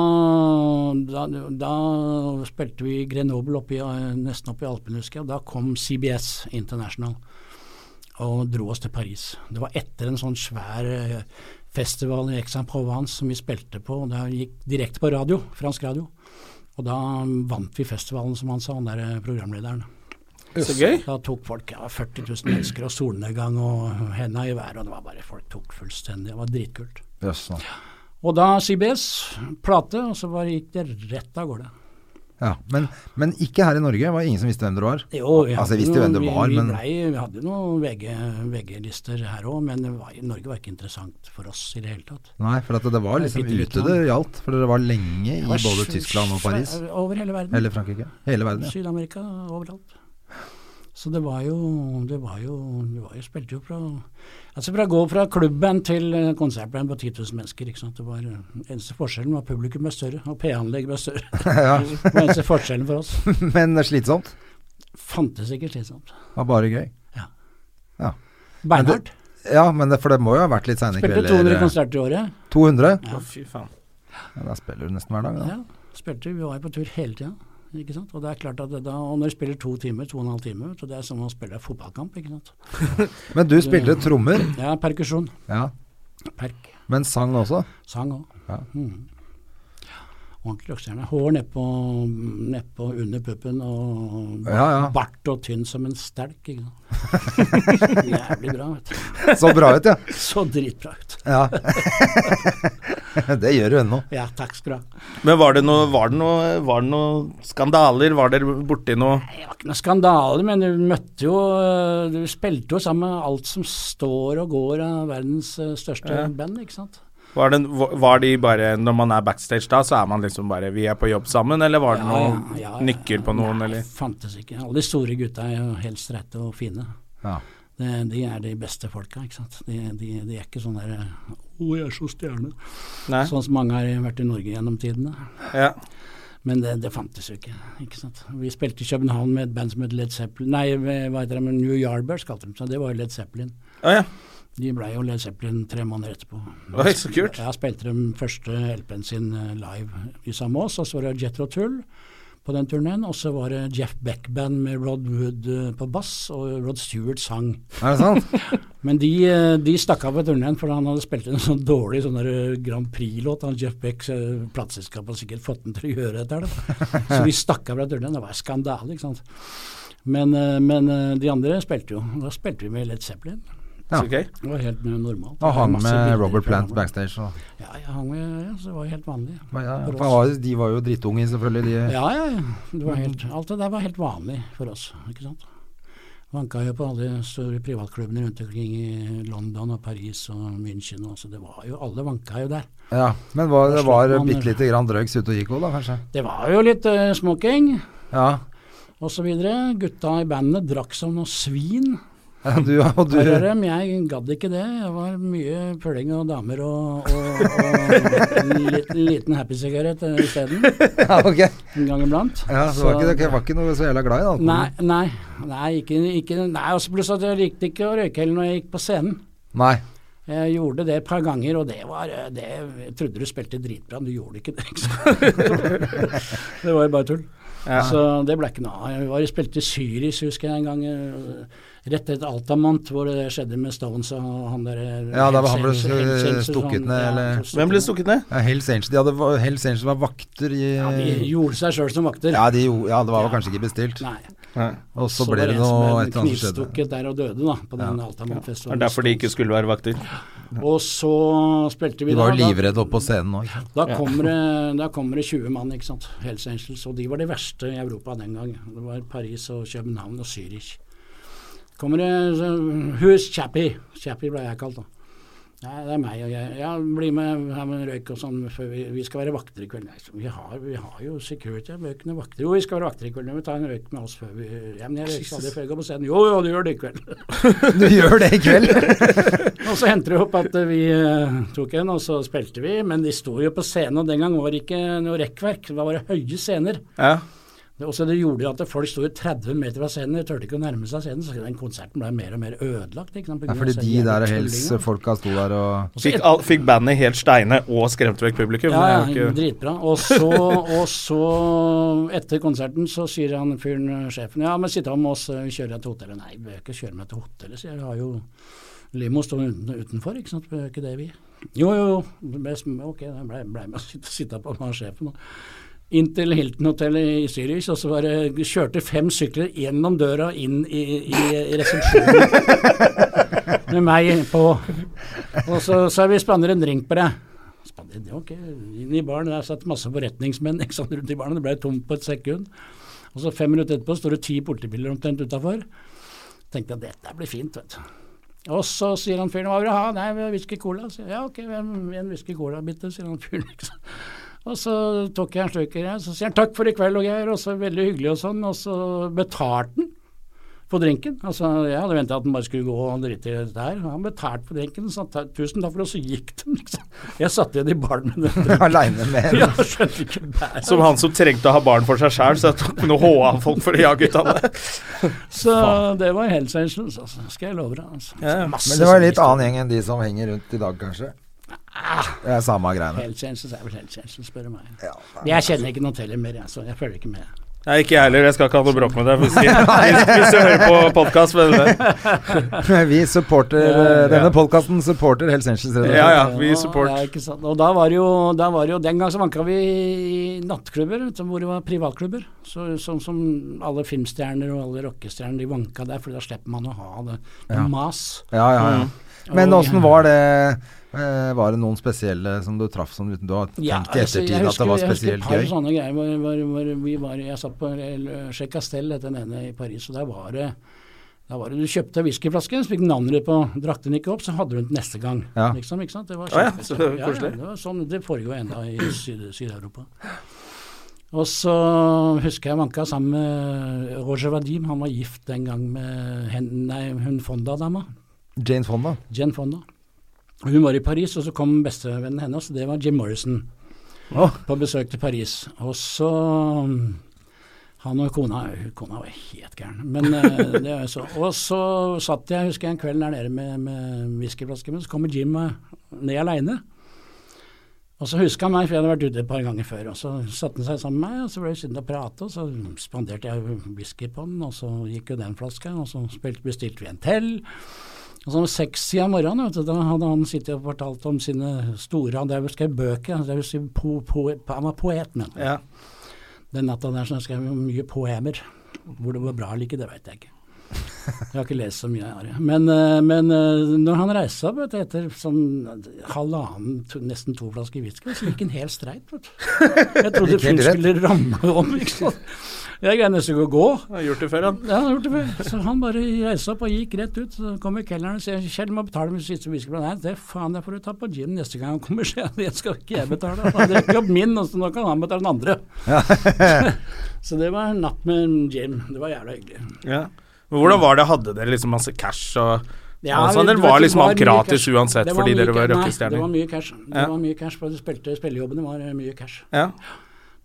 da, da spilte vi i Grenoble oppi, nesten oppe i Alpene, husker jeg. Og da kom CBS International og dro oss til Paris. Det var etter en sånn svær eh, festival i Aix-en-Provence som vi spilte på. og Da gikk direkte på radio, fransk radio. Og da um, vant vi festivalen, som han sa, han der eh, programlederen.
Så gøy.
Da tok folk ja, 40 000 mennesker og solnedgang og henda i været, og det var bare folk tok fullstendig. Det var dritkult.
Jøss, nå.
Og da CBS, plate, og så bare gikk det rett av gårde.
Ja, men, men ikke her i Norge. Det var ingen som visste hvem dere var.
Jo, vi
altså,
hadde
jeg visste jo hvem
noen-
det var,
vi,
men
vi, blei, vi hadde noen VG, VG-lister her òg, men det var, Norge var ikke interessant for oss i det hele tatt.
Nei, for at det var liksom
Litt
ute
utland.
det gjaldt. For dere var lenge i
Det var
både
sv-
Tyskland og
svæ-
Paris.
Over hele verden.
Eller Frankrike. Hele verden, ja.
Syd-Amerika, overalt. Så det var jo Det var jo, det var jo spilte jo fra Altså fra å gå fra klubbband til eh, konsertband på 10 000 mennesker, ikke sant. Det var eh, eneste forskjellen var publikum ble større, og PA-anlegg ble større. Det var eneste forskjellen for oss.
Men slitsomt.
Fantes ikke slitsomt.
Det var bare gøy.
Beinhardt.
Ja, men det, for det må jo ha vært litt seine
Spilte
kvelder.
200 konserter i året.
200?
Å, fy faen.
Ja, da spiller du nesten hver dag, da.
Ja, spilte, vi var jo på tur hele tida. Ikke sant? Og det er klart at det da, og når du spiller to timer, to og en halv time, så det er som å spille fotballkamp. ikke sant?
Men du spilte trommer.
Ja, perkusjon.
Ja.
Perk.
Men sang også.
Sang òg.
Ja.
Mm. Ordentlig rockestjerne. Hår nedpå ned på under puppen og bart,
Ja, ja.
bart og tynn som en stelk. Ikke sant? Jævlig bra. vet du.
Så bra ut, ja.
Så dritbra ut.
ja. det gjør du ennå.
Ja, takk skal du ha.
Men var det noe, var det noe, var det noe skandaler? Var dere borti noe
Nei, Det var ikke noe skandale, men du møtte jo eh, Du spilte jo sammen med alt som står og går av verdens eh, største band, ikke sant?
var, det, var de bare Når man er backstage da, så er man liksom bare Vi er på jobb sammen, eller var det noen nykker på noen,
Nei,
eller?
fantes ikke. Alle de store gutta er jo helst rette og fine.
Ja.
Det, de er de beste folka, ikke sant. De, de, de er ikke sånn der Å, jeg er så stjerne.
Nei?
Sånn som mange har vært i Norge gjennom tidene.
Ja.
Men det, det fantes jo ikke, ikke sant. Vi spilte i København med et band som het Led Zeppelin Nei, med- hva heter det, med New Yardbirds kalte de seg. Det var jo Led Zeppelin.
Å ja.
De blei jo Led Zeppelin tre måneder etterpå.
Oi, så kult.
Jeg spilte den første LP-en sin eh, live i samme oss, og så var det Jethro Tull på den turneen, og så var det Jeff Beck-band med Rod Wood eh, på bass, og Rod Stewart sang.
Er det sant?
Men de, eh, de stakk av på turneen, for han hadde spilt en sånn dårlig sånn der eh, Grand Prix-låt. Han Jeff Becks eh, plateselskap har sikkert fått den til å gjøre dette her, da. Så de stakk av fra turneen. Det var en skandale, ikke sant. Men, eh, men eh, de andre spilte jo. Da spilte vi med Led Zeppelin.
Ja.
Så gøy.
Det var helt normalt.
Og han
Masse
med
bilder
Robert
fra
Plant
gammel.
backstage og
Ja, jeg hang med, ja, så det var jo helt vanlig.
ja, ja.
For
For
oss.
han var, De var jo drittunge, selvfølgelig. De.
Ja, ja, ja. Det var helt, alt det der var helt vanlig for oss, ikke sant. Vanka jo på alle de store privatklubbene rundt omkring i London og Paris og München og så det var jo Alle vanka jo der.
Ja, men var, det
Da slapp
var
man-
bitte lite grann drugs ute og gikk òg, da kanskje?
Det var jo litt eh, smoking
Ja.
og så videre. Gutta i bandet drakk som noen svin.
Du, og du
Her er dem, jeg gadd ikke det. Det var mye puling og damer og, og, og en liten, liten happy-sigarett eh, isteden.
Ja, ok.
En gang iblant.
Ja, så var ikke, dere var ikke noe så jævla glad i alkohol?
Nei, nei, nei, ikke, ikke nei, også Pluss at jeg likte ikke å røyke heller når jeg gikk på scenen.
Nei.
Jeg gjorde det et par ganger, og det var eh, det, Jeg trodde du spilte dritbra, men du gjorde ikke det. Ikke sant? det var jo bare tull. Så det ble ikke noe av. Jeg var, jeg spilte i Syris, husker jeg en gang. eh, Rett etter Altamont, hvor det skjedde med Stones og han der eh,
Ja, da var han ble
Hells Angels- Hells Angels og
stukket
sånn.
ned,
Ja,
eller-
så
Hvem ble stukket ned?
Ja, Hells Angels de hadde, va- Hells Angels var vakter i
Ja, de gjorde seg sjøl som vakter.
Ja, de, gjorde- ja det var vel kanskje ikke bestilt.
Nei.
Og så
Så
ble
var
det
en som
noe
ble
et eller annet som skjedde.
Knivstukket der og døde, da, på den Altamont-festivalen.
Det er derfor de ikke skulle være vakter.
Og så spilte vi
De var
da,
jo livredde oppe på scenen òg.
Da, da, kommer det, da kommer det 20 mann, ikke sant. Hells Angels. Og de var de verste i Europa den gang. Det var Paris og København og Zürich. Kommer det så- Who's Chappie? Chappie ble jeg kalt, da. Ja, det er meg og jeg. Ja, bli med her med røyk og sånn, for vi, vi skal være vakter i kveld. Nei, så vi, har, vi har jo security, vi er jo ikke noen vakter. Jo, vi skal være vakter i kveld, men vi tar en røyk med oss før vi Ja, men jeg røyker aldri før jeg går på scenen. Jo, jo, du gjør det i kveld.
Du gjør det i kveld!
Og så hendte det opp at eh, vi eh, tok en, og så spilte vi. Men de sto jo på scenen, og den gang var det ikke noe rekkverk. Det var bare høye scener.
Ja.
Det- Og så det gjorde at folk sto jo 30 meter fra scenen, de turte ikke å nærme seg scenen. Så den konserten ble mer og mer ødelagt. Ikke sant? på
Ja,
grunn av
fordi
disse
de
jævla
der
tullingene.
Hells-folka sto der og
Og så
Fikk,
et-
all, fikk bandet helt steine og skremte vekk publikum.
ja,
det er
ja,
jo ikke,
dritbra. Og så, og så, etter konserten, så sier han fyren, eh, sjefen, ja, men sitte av med oss, eh, kjører jeg til hotellet. Nei, vi behøver ikke kjøre meg til hotellet, sier jeg. Vi har jo limo stående uten, utenfor, ikke sant. Behøver ikke det, vi. Jo, jo, jo. Det ble sm- Ok, da ble, ble med å sitte, sitte på med han sjefen. da. inn til Hilton hotellet i Zürich, og så var det, kjørte fem sykler gjennom døra inn i, i, i resepsjonen med meg på. Og så sa vi 'spanner en drink på deg'. Spanner en drink, ok, Inn i baren, der satt masse forretningsmenn ikke sant, rundt i baren, det ble tomt på et sekund. Og så fem minutter etterpå står det ti politibiler omtrent utafor. Tenkte jeg dette blir fint, vet du. Og så sier han fyren hva vil du ha? Nei, vi har whisky cola. Sier jeg, ja, ok, en- en whisky cola bitte, sier han fyren. ikke sant? Og så tok jeg en slurk, i det, så sier han takk for i kveld og greier, og så veldig hyggelig og sånn, og så betalte han for drinken. Altså, jeg hadde venta at han bare skulle gå og drite i dette her. Han betalte for drinken, så han sa tusen takk for det, og så gikk de. ikke sant? Jeg satt igjen i baren med den.
Aleine med
Jeg skjønte ikke bæret.
Som han som trengte å ha barn for seg sjæl, så jeg tok noe HA folk for å jage ut av det.
Så det var helseengels, altså. Skal jeg love deg. Altså.
Men det var en litt annen gjeng enn de som henger rundt i dag, kanskje.
Ah.
Det er samme greiene.
Helseengels er vel helseengels, spør du meg. Jeg kjenner ikke noen teller mer, jeg, så jeg følger ikke med.
Nei, ikke jeg heller. Jeg skal ikke ha noe bråk med deg hvis, hvis, hvis du hører på podkast.
Vi supporter
Ja,
eh, Denne podkasten supporter Hells Angels. rett og slett.
Ja, ja, vi
Og
support.
det er ikke sant. Og da var det jo, da var det jo Den gang så vanka vi i nattklubber, vet du, hvor det var privatklubber. Så, som, som alle filmstjerner og alle rockestjerner, de vanka der, for da slipper man å ha det det
Ja.
mas.
Ja, ja, ja.
Mm.
Men åssen var det eh, Var det noen spesielle som du traff som du du har tenkt i
Ja, altså,
ettertid
jeg
at det var
jeg
spesielt
husker et
gøy?
par sånne greier hvor, hvor, hvor vi var Jeg satt på eh, Chez Castel, het den ene i Paris, og der var det da var det, Du kjøpte whiskyflaske, så fikk du navnet ditt på, drakk den ikke opp, så hadde du den til neste gang.
Ja.
Liksom, ikke sant? Det var
Å ja,
kjempe-
så det var
ja, ja,
koselig.
det var sånn, det foregår ennå i Syd- Syd-Europa. Og så husker jeg vanka sammen med Roger Vadim, han var gift den gang med hen, nei, hun Fonda-dama.
Jane Fonda.
Jen Fonda. Og Hun var i Paris, og så kom bestevennen hennes, og det var Jim Morrison, på besøk til Paris. Og så mm, Han og kona Kona var helt gæren. Men eh, det er jo så. Og så satt jeg, husker jeg, en kveld der nede med, med whiskyflaske, men så kommer Jim eh, ned aleine. Og så huska han meg, for jeg hadde vært ute et par ganger før. Og så satte han seg sammen med meg, og så ble vi sittende og prate, og så spanderte jeg whisky på den, og så gikk jo den flaska, og så spilte, bestilte vi en til. Og så om seks-tida om morgenen, vet du, da hadde han sittet og fortalt om sine store Han drev og skrev bøker, han, drev og skrev po, po, han var poet, men
Ja.
den natta der så skrev jeg mye poemer. Hvor det var bra eller ikke, det veit jeg ikke. Jeg har ikke lest så mye, jeg har. jeg. Men, eh, men eh, når han reiste seg opp vet du, etter sånn halvannen, to, nesten to flasker whisky, så gikk han helt streit. Vet du. Jeg trodde
Gikk helt
fyren
rett.
skulle ramle om. ikke sant? Jeg greide nesten ikke å gå.
Jeg har gjort det før, han.
Ja, han har gjort det før. Så han bare reiste opp og gikk rett ut. Så kommer kelneren og sier Kjell må betale med siste whiskyblad. Nei, det faen, det får du ta på gin neste gang han kommer, sier jeg. Det skal ikke jeg betale. Han drikker opp min, og så nå kan han betale den andre. så det var en natt med Jim. Det var jævla hyggelig.
Ja. Men hvordan var det? Hadde dere liksom masse cash og
Ja,
Altså,
det-
dere
det
var
ikke-
liksom alt
mye
gratis
cash.
uansett
Det var
fordi
mye
dere var
ca-
rockestjerner.
Nei, det var mye cash. Det
Ja.
var mye cash, for de spilte spillejobbene var eh, mye cash.
Ja.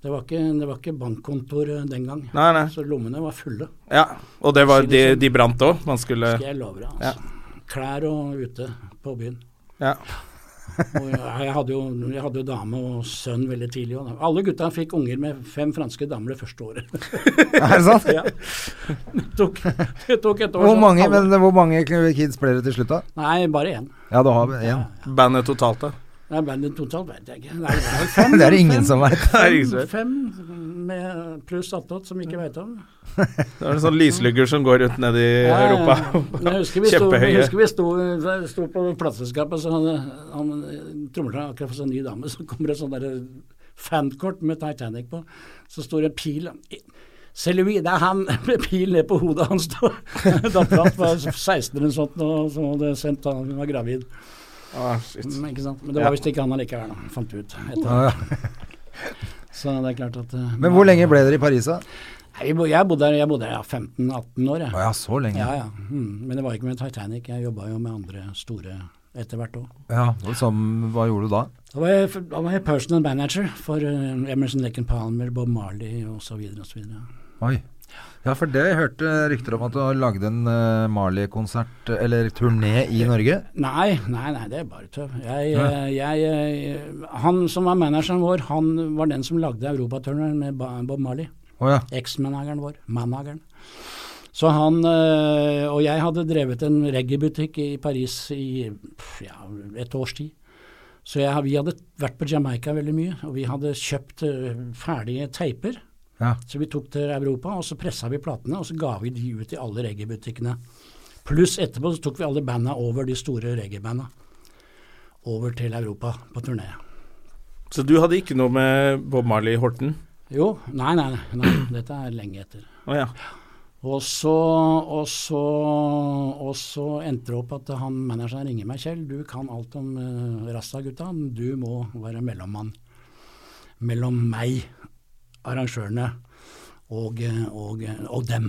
Det var ikke, det var ikke bankkontor eh, den gang.
Nei, nei.
Så lommene var fulle,
Ja. Og det var, de, de brant òg. Man skulle
skal jeg love deg. Altså. Klær og ute på byen.
Ja.
Og jeg, jeg, hadde jo, jeg hadde jo dame og sønn veldig tidlig. Og da- alle gutta fikk unger med fem franske damer det første året.
Er det sant?
Det tok, det tok et år.
Hvor
så
mange,
alle-
men hvor mange kids ble det til slutt, da?
Nei, bare én.
Ja, du har én.
Bandet totalt, da.
Nei, Bandet totalt vet jeg ikke. Nei, det var vel fem,
Det er det ingen
fem,
som veit.
Det er ikke så
fem,
verst.
fem med pluss attåt som vi ikke veit om.
Det er en sånn lyslugger som går rundt nede i
Ja, ja, ja.
Europa.
Men Jeg husker vi sto, jeg
Kjempehøye.
husker vi sto, sto på plateselskapet, så hadde han trommeslageren akkurat fått seg en ny dame, så kommer det sånn derre fankort med Titanic på, så står det en pil Se Louis, det er han med pil ned på hodet hans. Dattera hans var 16 eller noe sånt, og så hadde jeg sendt han, hun var gravid.
Ah, shit.
Men, ikke sant? Men det var visst ikke han allikevel, da, fant vi ut. Etter. Så det er klart at eh,
Men hvor lenge ble dere i Paris, da?
Nei, vi bo- Jeg bodde der jeg bodde der, ja, 15-18 år, jeg.
Å ja, så lenge.
Ja, ja. Mm. Men det var ikke med Titanic. Jeg jobba jo med andre store etter hvert òg.
Ja, og som, hva gjorde du da?
Da var jeg, da var jeg personal manager for eh, Emerson Lake Palmer, Bob Marley osv. osv.
Oi. Ja, for det jeg hørte rykter om at du har lagd en eh, Marley-konsert, eller turné, i Norge.
Nei, nei, nei, det er bare tøv. Jeg, eh, jeg, eh, han som var manageren vår, han var den som lagde europaturneren med Ba- Bob Marley.
Å ja.
Eksmanageren vår. Manageren. Så han eh, og jeg hadde drevet en reggaebutikk i Paris i pff, ja, et års tid. Så jeg, har- vi hadde vært på Jamaica veldig mye, og vi hadde kjøpt eh, ferdige teiper.
Ja.
Så vi tok til Europa, og så pressa vi platene, og så ga vi de ut i alle reggaebutikkene. Pluss etterpå så tok vi alle banda over, de store reggaebanda, over til Europa på turné.
Så du hadde ikke noe med Bob Marley Horten?
Jo, nei, nei, nei, nei dette er lenge etter.
Å ja.
Og så, og, så, og så endte det opp at han manageren ringer meg, Kjell, du kan alt om uh, Rasta-gutta, men du må være mellommann mellom meg, arrangørene, og, eh, og, eh, og dem.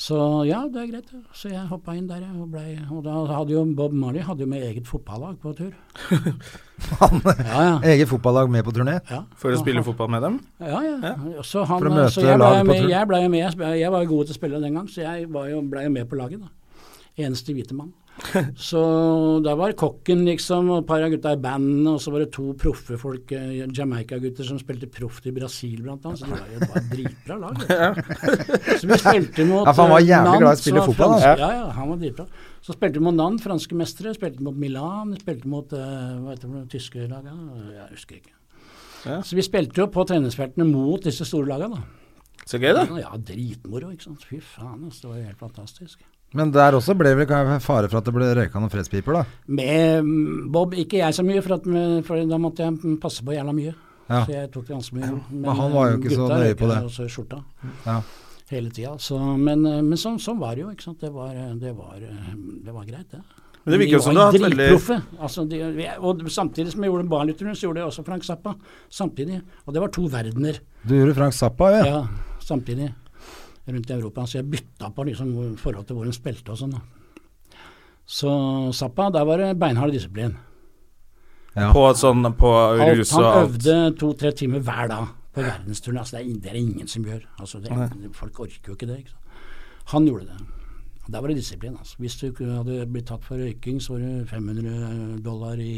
Så ja, det er greit. Så jeg hoppa inn der, jeg, og, ble, og da hadde jo Bob Marley hadde jo med eget fotballag på tur.
Han, eh,
Ja, ja.
Eget fotballag med på turné.
ja.
For å spille fotball med dem?
Ja, ja. Så, han,
For å møte
så jeg ble
laget på
med,
tur.
jeg ble med. Jeg sp- Jeg var jo god til å spille den gang, så jeg var jo, ble jo med på laget. da. Eneste hvite mann. Så der var kokken, liksom, og et par av gutta i bandet, og så var det to proffe folk, eh, Jamaica-gutter, som spilte proft i Brasil, blant annet. Så det var jo bare dritbra lag. vet du. Så vi spilte mot
Ja, for han var
eh,
jævlig glad i å
som
spille
var
fotball,
fransk-
da.
Ja, ja, han var dritbra. Så spilte vi mot Nann, franske mestere, spilte mot Milan, spilte mot eh, hva heter det, tyske lag, ja, jeg husker ikke. Så vi spilte jo på treningsfeltene mot disse store lagene. da.
Så gøy, da.
Ja, dritmoro, ikke sant. Fy faen, altså, det var jo helt fantastisk.
Men der også ble vel ka- fare for at det ble røyka noen fredspiper, da.
Med mm, Bob, ikke jeg så mye, for, at, mm, for da måtte jeg mm, passe på jævla mye.
Ja.
Så jeg tok det ganske mye. Men,
han var jo ikke så
gutta
nøye
røyka
på det.
jo Også i skjorta.
Ja.
Hele tida. Så, men eh, men sånn, sånn var det jo, ikke sant. Det var, eh, det var, eh, det var greit, det.
Men det virker jo som du
var
har hatt veldig
dritproffe. Altså, de, vi- og samtidig som jeg gjorde Barnlytteren, så gjorde jeg også Frank Zappa. Samtidig. Og det var to verdener.
Du gjorde Frank Zappa, ja.
Ja, samtidig rundt i Europa. Så jeg bytta på liksom hvor- forhold til hvor hun spilte og sånn. da. Så Zappa, der var det beinhard disiplin.
ja.
På sånn på
Alt,
rus og
han
alt.
øvde to-tre timer hver dag på verdensturné. Altså, det, er, det er det ingen som gjør. Altså, det, folk orker jo ikke det. Ikke sant? Han gjorde det. Og Der var det disiplin. Altså. Hvis du ikke hadde blitt tatt for røyking, så var det 500 dollar i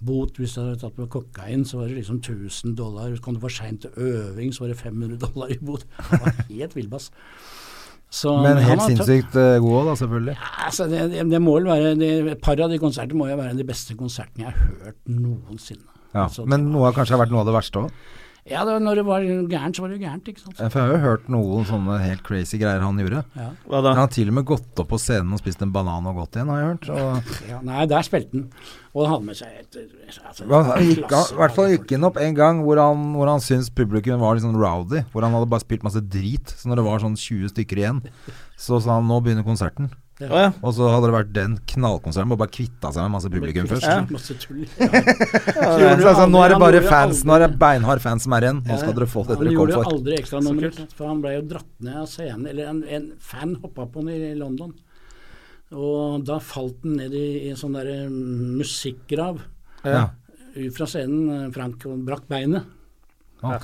bot. Hvis du hadde tatt på kokain, så var det liksom 1000 dollar. Kom du for seint til øving, så var det 500 dollar i bot. Det var helt villbass. Så-
Men
han
helt
var tøff.
sinnssykt eh, god òg, da, selvfølgelig.
Altså, det, det, det må vel være det, Et par av de konsertene må jo være de beste konsertene jeg har hørt noensinne.
Ja.
Altså, det
Men
var-
noe har kanskje vært noe av det verste òg.
Ja, det var, når det var gærent, så var det jo gærent, ikke sant.
For jeg har jo hørt noen sånne helt crazy greier han gjorde.
Ja.
Hva da?
Han har til og med gått opp på scenen og spist en banan og gått igjen, har jeg hørt. Og,
Ja, nei, der spilte han. Og han hadde med seg et altså,
han gikk, han,
klasse-
I hvert fall gikk han opp en gang hvor han, hvor han syntes publikum var litt sånn rowdy. Hvor han hadde bare spilt masse drit. Så når det var sånn 20 stykker igjen, så sa han nå begynner konserten.
Å ja.
Og så hadde det vært den knallkonserten hvor bare kvitta seg med masse publikum først.
Ja. Masse tull. Ja.
Så
gjorde
det er sånn,
aldri-
nå er det
han
bare
gjorde
fans,
aldri-
nå er det beinhard fans som er igjen. Nå skal dere få det
Han
dere kom
gjorde jo
for.
aldri ekstranummer, for han ble jo dratt ned av scenen. Eller en, en fan hoppa på han i i London. Og da falt han ned i, i en sånn derre musikkgrav
Ja.
ut fra scenen. eh, Frank og brakk beinet.
Ja.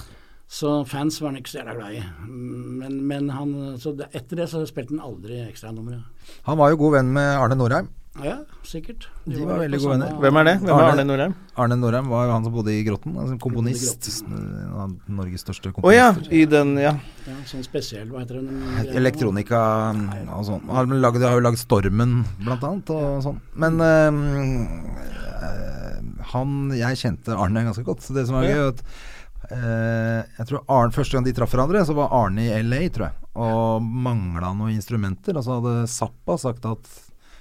Så fans var han ikke så jævla glad i. Men, men han, så det, etter det så spilte han aldri ekstranummeret.
Han var jo god venn med Arne Norheim.
Ja, sikkert.
De var
jo
veldig
på
gode
samme-
venner.
Hvem er det? Hvem er
Arne.
Arne Norheim?
Arne Norheim var jo han som bodde i Grotten. Altså komponist. En av Norges største
Å ja,
komponister.
i den, ja.
Ja, sånn spesiell, hva heter den?
Elektronika og sånn. Han har lagd- har jo lagd Stormen, blant annet, og sånn. Men øhm, øh, han Jeg kjente Arne ganske godt, så det som var gøy, var at øh, jeg tror Arne, Første gang de traff hverandre, så var Arne i LA, tror jeg, og mangla noen instrumenter. Og så hadde Zappa sagt at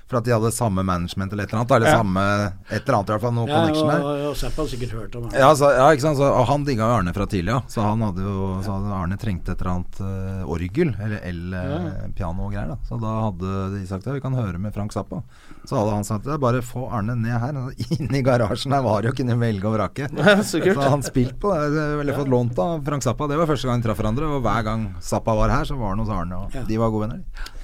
For at de hadde samme management eller et eller annet. Eller samme et eller annet, i hvert fall. Noe
Ja, og,
connection der.
og, og Zappa har sikkert hørt om det.
Ja, så, ja ikke sant? Så, og han digga jo Arne fra tidlig av. Så han hadde jo så hadde Arne trengte et eller annet eh, orgel, eller eh, el-piano-greier. da Så da hadde de sagt ja, vi kan høre med Frank Zappa. Så hadde han sagt ja, bare få Arne ned her. Inn i garasjen her var det jo kunne velge og vrake.
Så
Så
kult.
han spilte på det, eller fått lånt av Frank Zappa. Det var første gang de traff hverandre. Og hver gang Zappa var her, så var han hos Arne, og
Ja.
de var gode venner. de.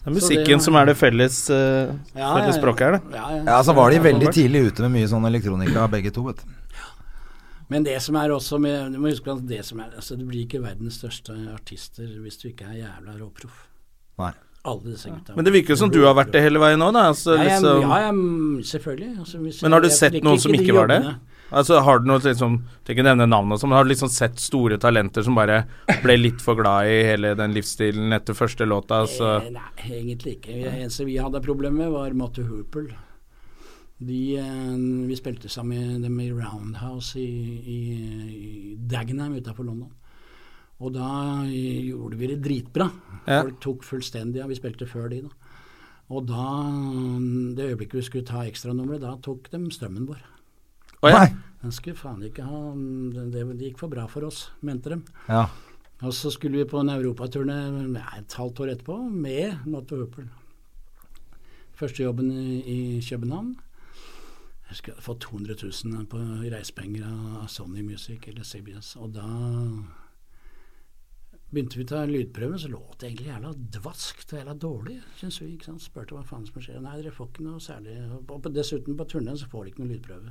Det er musikken som er det felles, eh, felles språket her, det.
Ja, ja.
Ja, så var de veldig tidlig ute med mye sånn elektronika, begge to, vet du.
Men det som er også med, du må huske at det som er, altså du blir ikke verdens største artister hvis du ikke er jævla råproff.
Nei.
Alle disse gutta.
Men det virker jo som du har vært det hele veien nå, da. Altså,
Ja, jeg,
liksom,
ja, jeg, selvfølgelig. Altså, hvis
Men
jeg-
har du
jeg
sett
liker
noen som
de
ikke var det?
jobbene.
altså, har du noe liksom Trenger ikke nevne navn og sånn, men har du liksom sett store talenter som bare ble litt for glad i hele den livsstilen etter første låta, så
Eh, Nei, egentlig ikke. Det eneste vi hadde problemer med, var Matty Hoople. De, eh, vi spilte sammen med dem i Roundhouse i, i, i Dagenham utenfor London. Og da gjorde vi det dritbra.
Ja.
Folk tok fullstendig av. Vi spilte før de, da. Og da, mm, det øyeblikket vi skulle ta ekstranummeret, da tok de strømmen vår.
Å ja.
Nei.
Den skulle faen ikke ha Det, det gikk for bra for oss, mente de.
Ja.
Og så skulle vi på en europaturné ja, et halvt år etterpå med Notto Hooper. Første jobben i, i København. Jeg husker jeg hadde fått 200 000 på i reisepenger av Sony Music eller CBS. Og da begynte vi å ta lydprøven, så låt det egentlig jævla dvaskt og jævla dårlig, syns vi. ikke sant? Spurte hva faen som skjer. Nei, dere får ikke noe særlig Og på- dessuten, på turneen så får de ikke noe lydprøve.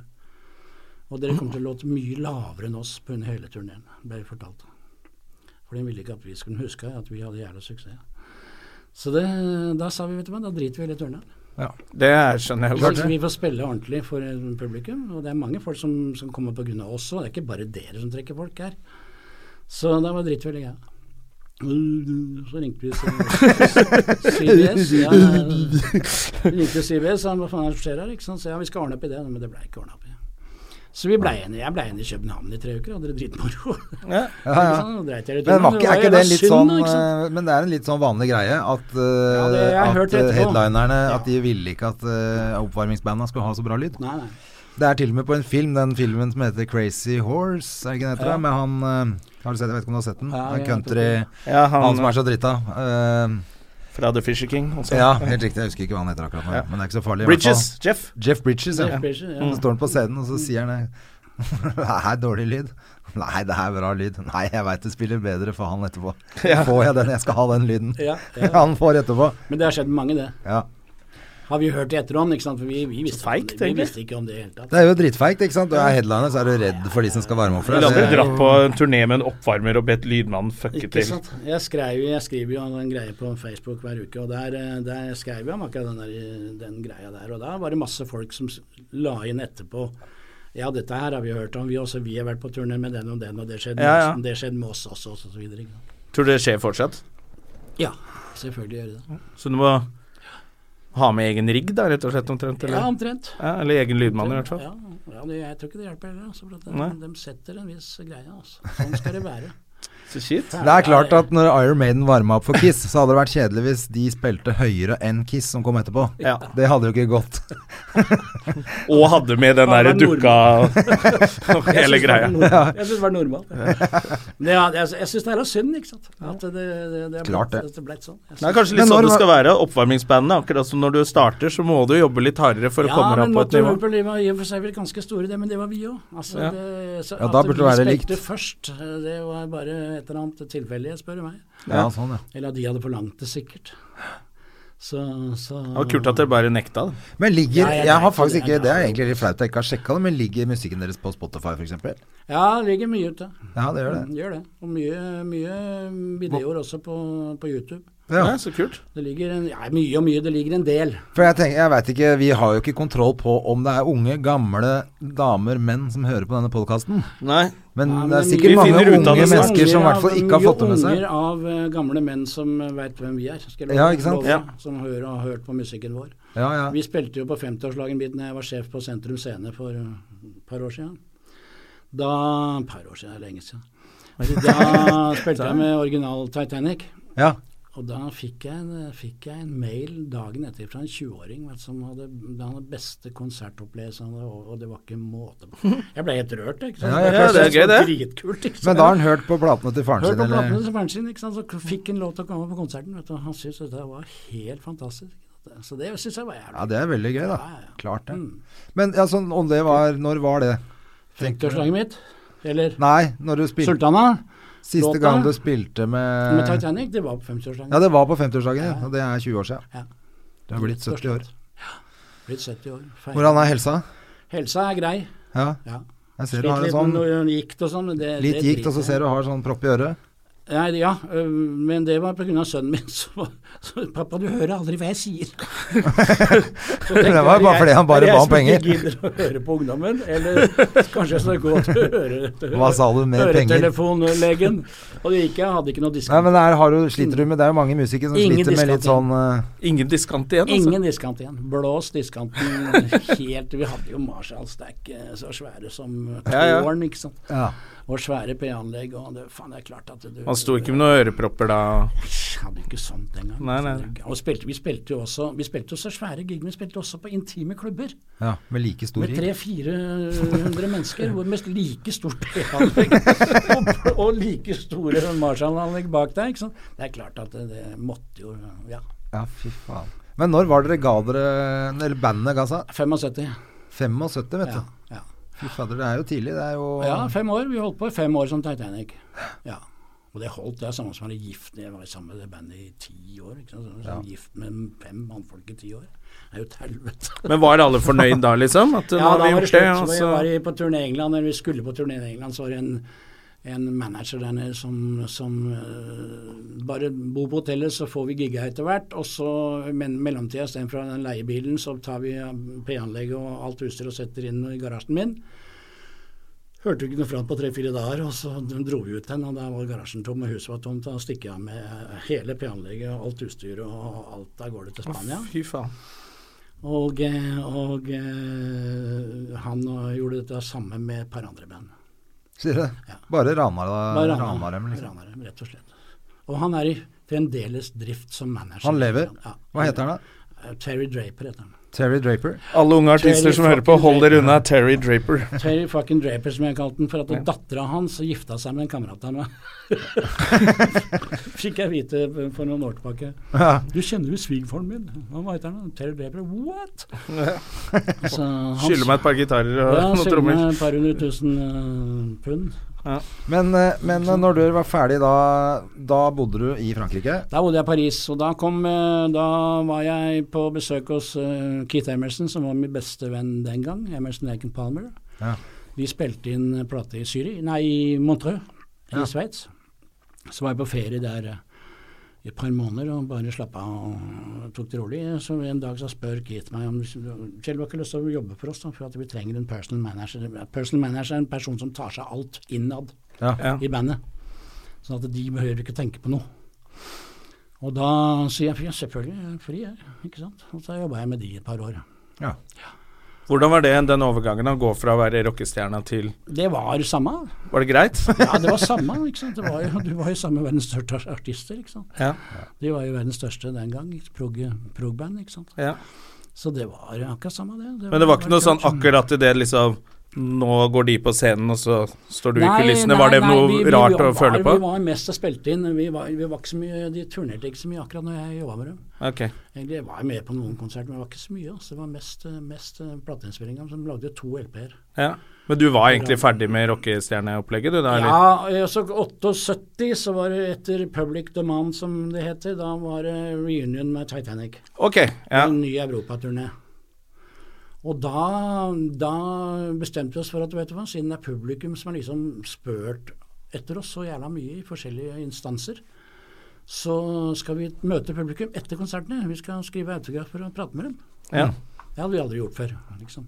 Og dere kommer til å låte mye lavere enn oss på under hele turneen, ble vi fortalt. For de ville ikke at vi skulle huske at vi hadde jævla suksess. Så det, da sa vi, vet du hva, da driter vi i hele turneen.
Det er- skjønner jeg
Så
godt.
vi får spille ordentlig for eh, publikum, og det er mange folk som, som kommer pga. oss òg. Det er ikke bare dere som trekker folk her. Så da var dritveldig greia. Så ringte vi C- CBS. Ja, vi ringte CBS, og han hva faen er det som skjer her? Ikke sant? Så ja, vi skal ordne opp i det, men det blei ikke ordna opp i. Så vi ble igjen, jeg ble igjen i København i tre uker, og hadde det dritmoro.
Ja.
Ja, ja.
Sånn, og dreit jeg i
Men
turen,
var ikke, er
jo
ikke
jævla
det litt
synd,
sånn
da, ikke sant?
eh, Men det er en litt sånn vanlig greie at, eh,
Ja, det- jeg har hørt
at
det
eh,
etterpå.
headlinerne At de ville ikke at eh, oppvarmingsbanda skulle ha så bra lyd.
Nei, nei.
Det er til og med på en film, den filmen som heter Crazy Horse, er det ikke den heter?
Ja.
da? Med han eh, Har du sett Jeg vet ikke om du har sett den?
Ja,
Han
jeg har
country
Ja,
han,
han
som er så drita.
fra The Fisher King. Også.
ja, helt riktig. Jeg husker ikke hva han heter akkurat nå,
Ja.
men det er ikke så farlig. i hvert
Bridges. Jeff.
fall. Jeff Bridges, ja.
Jeff Bridges, ja.
Så står han på scenen, og så sier han det. Det er dårlig lyd. Nei, det er bra lyd. Nei, jeg veit det spiller bedre for han etterpå. Får jeg den? Jeg skal ha den lyden.
Ja, ja.
Han får etterpå.
Men det har skjedd mange, det.
Ja.
Har vi hørt i etterhånd, ikke sant? For vi, vi, visste,
Feigt,
vi
egentlig.
visste ikke om det i det hele tatt.
Det er jo dritfeigt, ikke sant. Du er headliner, så er du redd for de som skal varme opp for
Vi
deg.
hadde
Så-
dratt på en turné med en oppvarmer og bedt lydmannen fucke
Ikke
til.
sant? Jeg, skrev, jeg skriver jo en greie på Facebook hver uke, og der, eh, der skrev jeg om akkurat den, der, den greia der. Og da var det masse folk som s- la inn etterpå. Ja, dette her har vi hørt om, vi også. Vi har vært på turné med den og den, og det skjedde, med
Ja, ja.
oss, det skjedde med oss også, og så videre. ikke sant?
Tror du det skjer fortsatt?
Ja, selvfølgelig gjør det det.
Så du må ha med egen rigg, da, rett og slett, omtrent?
Ja,
Eller,
omtrent.
ja, eller egen lydmann, i hvert fall.
Ja, ja, det- jeg tror ikke det hjelper heller. Altså, for at
Nei.
de, de setter en viss greie. Altså. Sånn skal det være.
Så shit.
Det er klart at når Iron Maiden varma opp for Kiss, så hadde det vært kjedelig hvis de spilte høyere enn Kiss som kom etterpå.
Ja.
Det hadde jo ikke gått.
Og hadde med den
Han
derre
var
dukka og hele greia.
Jeg syns det var normalt. Men ja, jeg jeg syns det er da synd, ikke sant. At det, det, det, er
Klart
blitt-
det.
det er blitt sånn. Jeg
Det er
synes-
kanskje litt
Men når
sånn det
var-
skal være. Oppvarmingsbandet, akkurat som når du starter, så må du jobbe litt hardere for å
Ja,
komme deg opp
men
på et
Motor
nivå.
Hooper var i og for seg vel ganske store, det, men det var vi òg. Altså,
Ja.
det- så
Ja,
at
da burde det være
vi
likt.
spilte først, det var bare et eller annet tilfeldig, spør du meg.
Ja, sånn, ja.
Eller at de hadde forlangt det, sikkert. Så, så
Det var kult at dere bare nekta, da.
Men ligger
Nei, jeg
Jeg har
vet
faktisk
ikke,
ikke
jeg
Det er
vet
egentlig litt flaut at jeg ikke har sjekka det, men ligger musikken deres på Spotify, f.eks.?
Ja, ligger mye ute.
Ja, det gjør det.
Mm, Gjør det. Og mye, mye videoer også på, på YouTube.
Ja.
Ja, så kult.
Det ligger en, ja, mye og mye, det ligger en del.
For jeg tenker Jeg veit ikke Vi har jo ikke kontroll på om det er unge, gamle damer, menn som hører på denne podkasten.
Nei.
Men
Ja, men
det er
vi
sikkert mange
finner ut av
unge
det snart.
mennesker som i hvert fall ikke har fått det med
Mye
seg.
unger av eh, gamle menn som veit hvem vi er, skal jeg
Ja,
love-
ikke sant?
love,
Ja.
som hører og har hørt på musikken vår.
Ja, ja.
Vi spilte jo på 50-årslagen mitt da jeg var sjef på Sentrum Scene for eh, et par år siden. Da Et par år siden, det er lenge siden. Da spilte jeg med original Titanic.
ja.
Og da fikk jeg en, fikk jeg en mail dagen etter fra en 20-åring vet du, som hadde den beste konsertopplevelsen, han hadde, og, og det var ikke måte på. Jeg ble helt rørt, ikke sant.
Ja, ja,
ja, det er gøy,
var Dritkult, ikke sant.
Men da har han hørt på platene til faren
Hør
sin,
på platene
eller?
til faren sin, ikke sant? så fikk han lov til å komme på konserten. Vet du. og Han syntes dette var helt fantastisk. Så det syns jeg var
Ja,
jævlig.
det er veldig gøy, da.
Ja, ja.
Klart det.
Mm.
Men ja, sånn, om det var Når var det?
50-årslaget mitt, eller
Nei, når du spilte
Sultana
Siste
låta?
gang du spilte med,
med Titanic, det var på
Eh,
50-årslaget.
Ja, det var på 50-årsdagen, ja. Og det er 20 år siden.
Ja.
Du er blitt 70 år.
Blitt 70 år. Feil.
Hvordan er helsa?
Helsa er grei.
Ja,
Ja.
jeg ser du
Sliter
har en
litt
sånn
med noe gikt og sånn. men Det,
litt
det
gikt,
driter
og så
jeg i.
ser du har sånn propp i øret.
Nei, ja, øh, men det var pga. sønnen min. Så, var- så 'Pappa, du hører aldri hva jeg sier'. Så tenkte
Det var
jeg,
bare fordi han bare
er det jeg
ba om
som ikke
penger?
gidder å høre på ungdommen, eller kanskje jeg skal gå til øre- til
Hva sa du med penger?
Øretelefonlegen. Og det gikk jeg, hadde ikke noe diskant.
Nei, men det er, har du, sliter du med Det er jo mange musikere som
Ingen
sliter med litt sånn
diskant.
eh,
Ingen diskant igjen, altså.
sånn.
Ingen diskant igjen. Blås diskanten helt Vi hadde jo Marshall Stack eh, så svære som
Ja, ja.
tårn, ikke sant.
eh, ja.
Og svære P-anlegg, og det, faen, det er klart at du
Han sto ikke med noen ørepropper da.
Jeg hadde jo ikke sånt den gangen.
Nei, nei, nei.
Og spilte, vi spilte jo også Vi spilte jo så svære gig, men vi spilte også på intime klubber
ja, med like stor
med
rigg.
300-400 mennesker, hvor med like stort P-anlegg og, og like store Marshall-anlegg bak deg. Ikke sant? Det er klart at det, det måtte jo Ja.
Ja, fy faen. Men når var dere ga dere Eller bandet ga seg?
75.
75, vet
Ja,
du.
ja.
Fy fader, det er jo tidlig. Det er jo
ja, fem år. Vi holdt på i fem år som Titanic. Ja. Og det holdt. Det er samme som å være gift. Jeg var sammen med det bandet i ti år. Ikke sant? Så, så Gift med fem mannfolk i ti år. Det er jo et helvete.
Men var alle fornøyd da, liksom? At nå
Ja,
har
da
vi
var det
gjort det, altså.
slutt.
og
så vi
så
var i- på turné i England, eller vi skulle på turné i England, så var det en, en manager der nede som, som øh, bare bor på hotellet, så får vi gigga etter hvert. Og så men, mellomtida, istedenfor den leiebilen, så tar vi P-anlegget og alt utstyr og setter inn i garasjen min. Hørte ikke noe fra han på tre-fire dager, og så dro vi ut den, og da var garasjen tom, og huset var tomt. Da stikker jeg av med eh, hele P-anlegget og alt utstyret og alt av gårde til Spania.
Fy faen.
Og, eh, og eh, han eh, gjorde dette samme med et par andre band.
Sier du det?
Ja.
Bare rana
Bare
dem,
Rana-
liksom.
Rana dem, rett og slett. Og han er i fremdeles drift som manager.
Han lever.
Ja.
Hva heter han da?
Eh, Terry Draper heter han.
Terry Draper?
Alle unge artister
Terry
som hører på,
fucking
hold dere
Draper.
unna Terry Draper.
Terry fucking Draper, som jeg kalte den, for at dattera hans gifta seg med en kamerat av meg. Fikk jeg vite for noen år tilbake.
Ja.
Du kjenner jo svigerfaren min. Hva heter han? Terry Draper? What? Så han-
Skylder meg et par gitarer og
Ja, han
noen
skylder
trommer.
meg et par hundre tusen eh, pund.
Men, eh, men eh, når du var ferdig, da, da bodde du i Frankrike?
Da bodde jeg i Paris, og da, kom, eh, da var jeg på besøk hos eh, Keith Emerson, som var min beste venn den gang. Emerson Laken Palmer.
Ja.
Vi spilte inn eh, plate i Syri, nei, i Montreux
Ja.
i Sveits. Så var jeg på ferie der eh, i et par måneder og bare slappa av og tok det rolig. Så en dag så spør Keith meg om liksom, Kjell, du har ikke lyst til å jobbe for oss, da, for at vi trenger en personal manager. Personal manager er en person som tar seg av alt innad
Ja.
Ja.
i bandet. Sånn at de behøver ikke tenke på noe. Og da sier jeg ja, selvfølgelig, jeg er fri jeg. Ikke sant? Og så jobba jeg med de et par år.
Hvordan var det den overgangen å gå fra å være rockestjerna til
Det var samme.
Var det greit?
Ja, det var samme. ikke sant? Det var jo, du var jo sammen med verdens største artister. ikke sant?
Ja.
De var jo verdens største den gang. ikke? prog- Prog-band, ikke sant.
ja.
Så det var akkurat samme, det.
Men det var ikke noe sånn
klart.
akkurat i det liksom Nå går de på scenen, og så står du i
Nei,
kulissene.
nei,
Var det
nei,
noe
vi- vi
rart å
var-
føle på?
Vi var mest og spilte inn. Vi var, vi var ikke så mye, de turnerte ikke så mye akkurat når jeg jobba med dem.
Ok.
Egentlig jeg var jeg med på noen konserter, men det var ikke så mye. Altså. Det var mest, eh, mest eh, plateinnspillinga som lagde to LP-er.
Ja. Men du var egentlig ferdig med rockestjerneopplegget, du da? eller?
Ja, eh, så 78 så var det etter Public Demand, som det heter. Da var det reunion med Titanic.
Ok. Ja.
En ny europaturné. Og da, da bestemte vi oss for at vet du hva, siden det er publikum som har liksom spurt etter oss så jævla mye i forskjellige instanser, så skal vi møte publikum etter konsertene. Vi skal skrive autografer og prate med dem.
ja.
Det hadde vi aldri gjort før. liksom.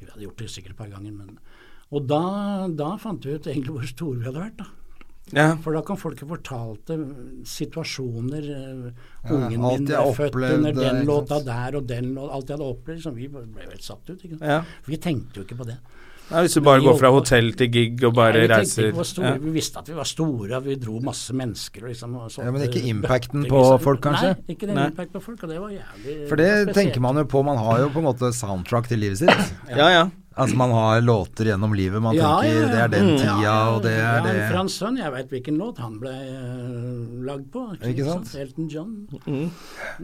Vi hadde gjort det sikkert et par ganger, men Og da, da fant vi ut egentlig hvor store vi hadde vært. da.
ja.
For da kan folk fortalte situasjoner eh,
Ja,
Ungen
alt jeg
min ble født
opplevde,
under den
ikke
låta
sant?
der og den låta Alt jeg hadde opplevd. Liksom, vi ble helt satt ut. Ikke? sant?
Ja.
For vi tenkte jo ikke på det.
Nei, hvis du bare
vi
går fra
jobber-
hotell til gig og bare
Nei, vi, tenkte
reiser
ikke på hvor store,
ja.
vi visste at vi var store, at vi dro masse mennesker og liksom og
Ja, men
solgte
ikke impacten
bøtter,
på
liksom.
folk, kanskje?
Nei, ikke den
Nei.
impacten på folk, og det var jævlig
For det
spesielt.
tenker man jo på. Man har jo på en måte soundtrack til livet sitt.
ja, ja.
Altså man har låter gjennom livet. Man
Ja,
tenker
ja, ja.
det er den
Ja,
tida, og det er
Ja,
det
Frans Sønn, jeg veit hvilken låt han ble eh, lagd på.
Ikke sant?
Elton John,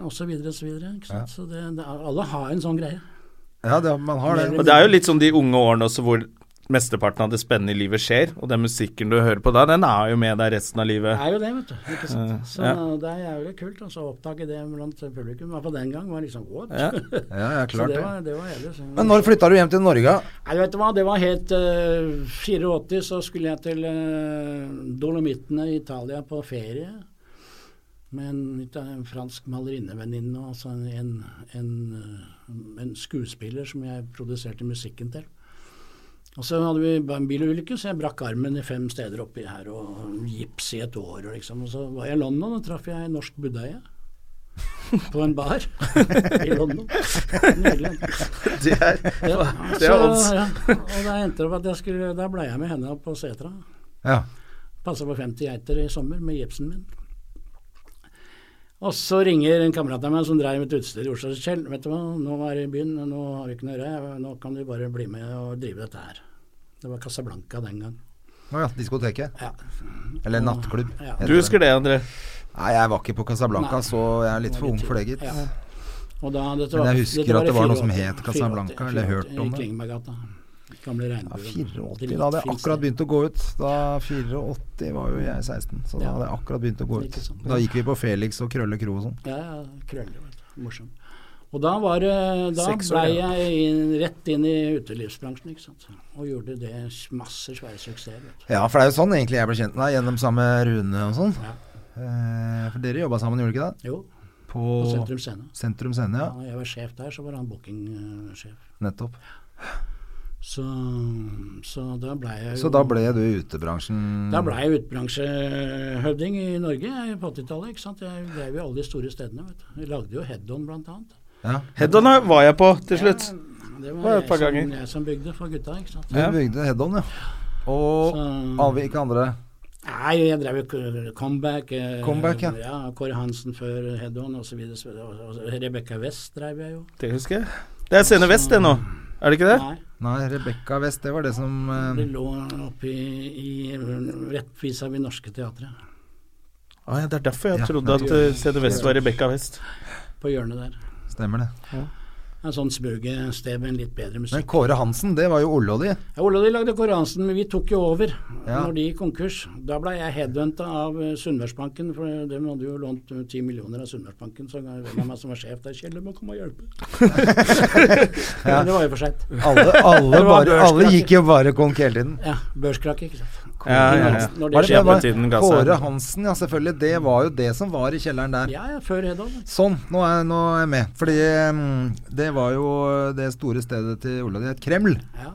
og så videre og så videre. Ikke sant? Så det, det, er- alle har en sånn greie.
Ja, det, man har det.
Og det er jo litt sånn de unge årene også hvor mesteparten av det spennende i livet skjer, og den musikken du hører på da, den er jo med deg resten av
Det
livet.
er jo det, vet du. Ikke sant? Så
ja.
det er jævlig kult altså, å oppdage det blant publikum. I hvert fall den gang var det liksom what?
Ja.
Ja, ja,
Så
klart
det
det.
var, det var jævlig. så-
Men når flytta du hjem til Norge?
Nei, vet du hva, det var helt eh, 84, så skulle jeg til eh, Dolomittene i Italia på ferie. Med en, ita- en fransk malerinnevenninne og altså en, en, en, eh, en skuespiller som jeg produserte musikken til. Og så hadde vi ba- en bilulykke, så jeg brakk armen i fem steder oppi her, og gips i et år, og liksom. Og så var jeg i London, og traff jeg en norsk budeie. På en bar i London. Nydelig.
Det er,
Ja,
det er odds.
så, ja. Og da endte det opp at jeg skulle Da ble jeg med henne opp på setra.
Ja.
Passa på 50 geiter i sommer med gipsen min. Og så ringer en kamerat av meg som dreiv et utested i Oslo. Kjell, vet du hva, nå er jeg i byen, nå har vi ikke noe å gjøre, nå kan du bare bli med og drive dette her. Det var Casablanca den gang.
Å ja, diskoteket.
Ja.
Eller nattklubb.
Ja.
Du
heter det.
husker det, André?
Nei, jeg var ikke på Casablanca,
Nei.
så jeg er litt
Det var
for ung
litt
for det, gitt.
tidlig. Ja. Og da, dette
Men
var-
jeg husker
dette
at det
i
var noe som
84,
het Casablanca,
84,
eller hørt om det.
I Klingenberggata. Gamle
Ja,
regnbuen.
84, da hadde jeg akkurat begynt å gå ut. Da 84 var jo jeg 16, så da
Ja.
hadde jeg akkurat begynt å gå ut.
Ikke sånn. sant.
Da gikk vi på Felix og Krølle Kro og sånn.
Ja, ja, krøller, vet du. Morsom. Og da var det- da
Seks år,
ble
ja.
jeg inn, rett inn i utelivsbransjen, ikke sant. Og gjorde det masse svære suksess, vet du.
Ja, for det er jo sånn egentlig jeg ble kjent med deg, gjennom samme Rune og sånn.
Ja.
Eh, for dere jobba sammen, gjorde dere ikke det?
Jo,
På
på Sentrum Scene.
Sentrum Scene,
Ja,
ja.
jeg var sjef der, så var han bookingsjef.
Nettopp.
Så, så da ble jeg jo
Så da ble du i utebransjen
Da ble jeg utebransjehøvding i Norge jeg, på 80-tallet. ikke sant? Jeg drev jo alle de store stedene. vet du. Vi lagde jo Head-On blant annet.
ja.
Head-on var jeg på til slutt.
Det
var
var
et
jeg
par
som,
ganger.
jeg som bygde for gutta. ikke sant?
Du bygde head-on, ja. Og
Så-
alle- ikke andre.
Nei, jeg drev jo k- comeback. eh,
Comeback, ja.
ja. Kåre Hansen før Head-On osv. Rebekka West drev jeg jo.
Det husker jeg. Det er Scene Vest, det nå. Er det ikke det?
Nei,
Nei, Rebekka West, det var det som eh,
Vi lå oppe i, i rett vis-à-vis Norske Teatret,
Ah, ja, det er derfor
Ja,
jeg trodde at eh, Scene Vest var Rebekka West.
på hjørnet der.
Stemmer det.
En sånn smuge sted med en litt bedre
Men
musikk.
Kåre Hansen, det var jo Olle og de.
Ja, Ole og de lagde Kåre Hansen, men vi tok jo over
Ja.
når de gikk konkurs. Da ble jeg headhunta av eh, Sunnmørsbanken, for de hadde jo lånt eh, ti millioner av Sunnmørsbanken. Så hvem av meg som var sjef der? Kjell, du må komme og hjelpe. Men det var jo for seint.
Alle, alle,
Det var
bare, alle
børskrakk.
gikk jo bare konk hele tiden.
Ja, børskrakk, ikke sant.
Ja, ja, ja.
Var
Når det
det
skjer
det var?
tiden ga seg.
Kåre Hansen, ja selvfølgelig. Det var jo det som var i kjelleren der.
Ja, ja, før Hedon.
Sånn, nå er, nå er jeg med. Fordi mm, det var jo det store stedet til Ola. Det het Kreml.
Ja.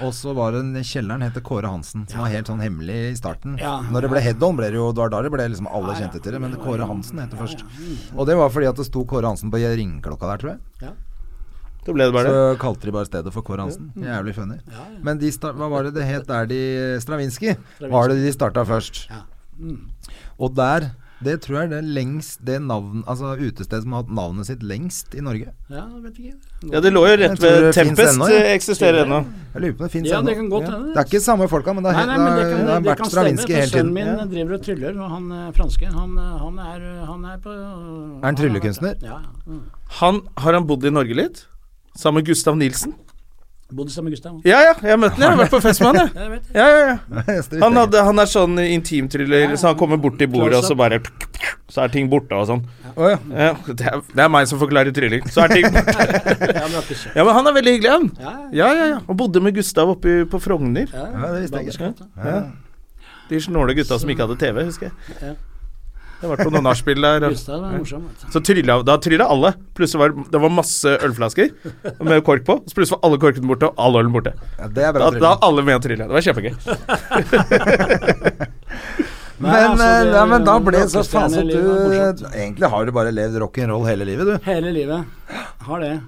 Og så var det en kjelleren het Kåre Hansen, som var helt sånn hemmelig i starten.
Ja.
Når det ble head-on, ble det jo det var da det ble liksom alle kjente til det. Men Kåre Hansen het det først.
Mm.
Og det var fordi at det sto Kåre Hansen på ringeklokka der, tror jeg.
Ja.
Da ble det bare det.
Så kalte de bare stedet for Kåre Hansen. Jævlig funny. Men de sta- hva var det det het der de Stravinskij var det de starta først.
Ja. Mm.
Og der det tror jeg er det lengst Det navn Altså utestedet som har hatt navnet sitt lengst i Norge.
ja, vet ikke.
Ja, det lå jo rett
Jeg tror
ved
det finnes
Tempest
ennå, ja.
eh, eksisterer ennå.
Jeg lurer på om det fins
Ja, det kan godt hende.
Det er ikke samme folka, men det
Nei,
har
nei, men det kan,
det har
det
vært
kan stemme.
Stravinskij
For
hele
sønnen
tiden.
min
Ja.
driver og tryller, og han eh, franske, han, eh, han, er, han er på Er
han tryllekunstner?
Ja. Mm.
Han, har han bodd i Norge litt? Sammen med Gustav Nilsen?
Bodde sammen med Gustav.
Ja, ja, jeg møtte ham. Jeg har vært på fest med han, jeg.
Jeg vet det.
Ja, ja, ja. Han,
hadde
hadde, han er sånn intimtryller, så han kommer bort til bordet, og så bare Så er ting borte og sånn.
ja.
Ja, det, er, det er meg som forklarer trylling. Så er ting borte.
Ja, men det var ikke sønn.
Ja, men han er veldig hyggelig, han.
Ja,
Ja, ja, ja. Og bodde med Gustav oppe i- på Frogner.
ja.
Ja, det visste jeg ikke.
Badeskatt, da.
De snåle gutta som ikke hadde TV, husker jeg.
Ja.
Det har vært på noen nachspiel der. og-
Gustav er morsom. Vet du.
Så trylla, da trylla alle. Plutselig var det- det var masse ølflasker med kork på. Så plutselig var alle korkene borte, og all ølen borte.
Ja, det er bra
Da, da
trylling.
var alle med og trylla. Det var kjempegøy.
Nei,
Men,
altså,
eh,
det-
nei, men da ble så
rockestjerne
faen så
i
du
livet var morsomt.
Egentlig har du bare levd rock'n'roll hele livet, du.
Hele livet. Har det.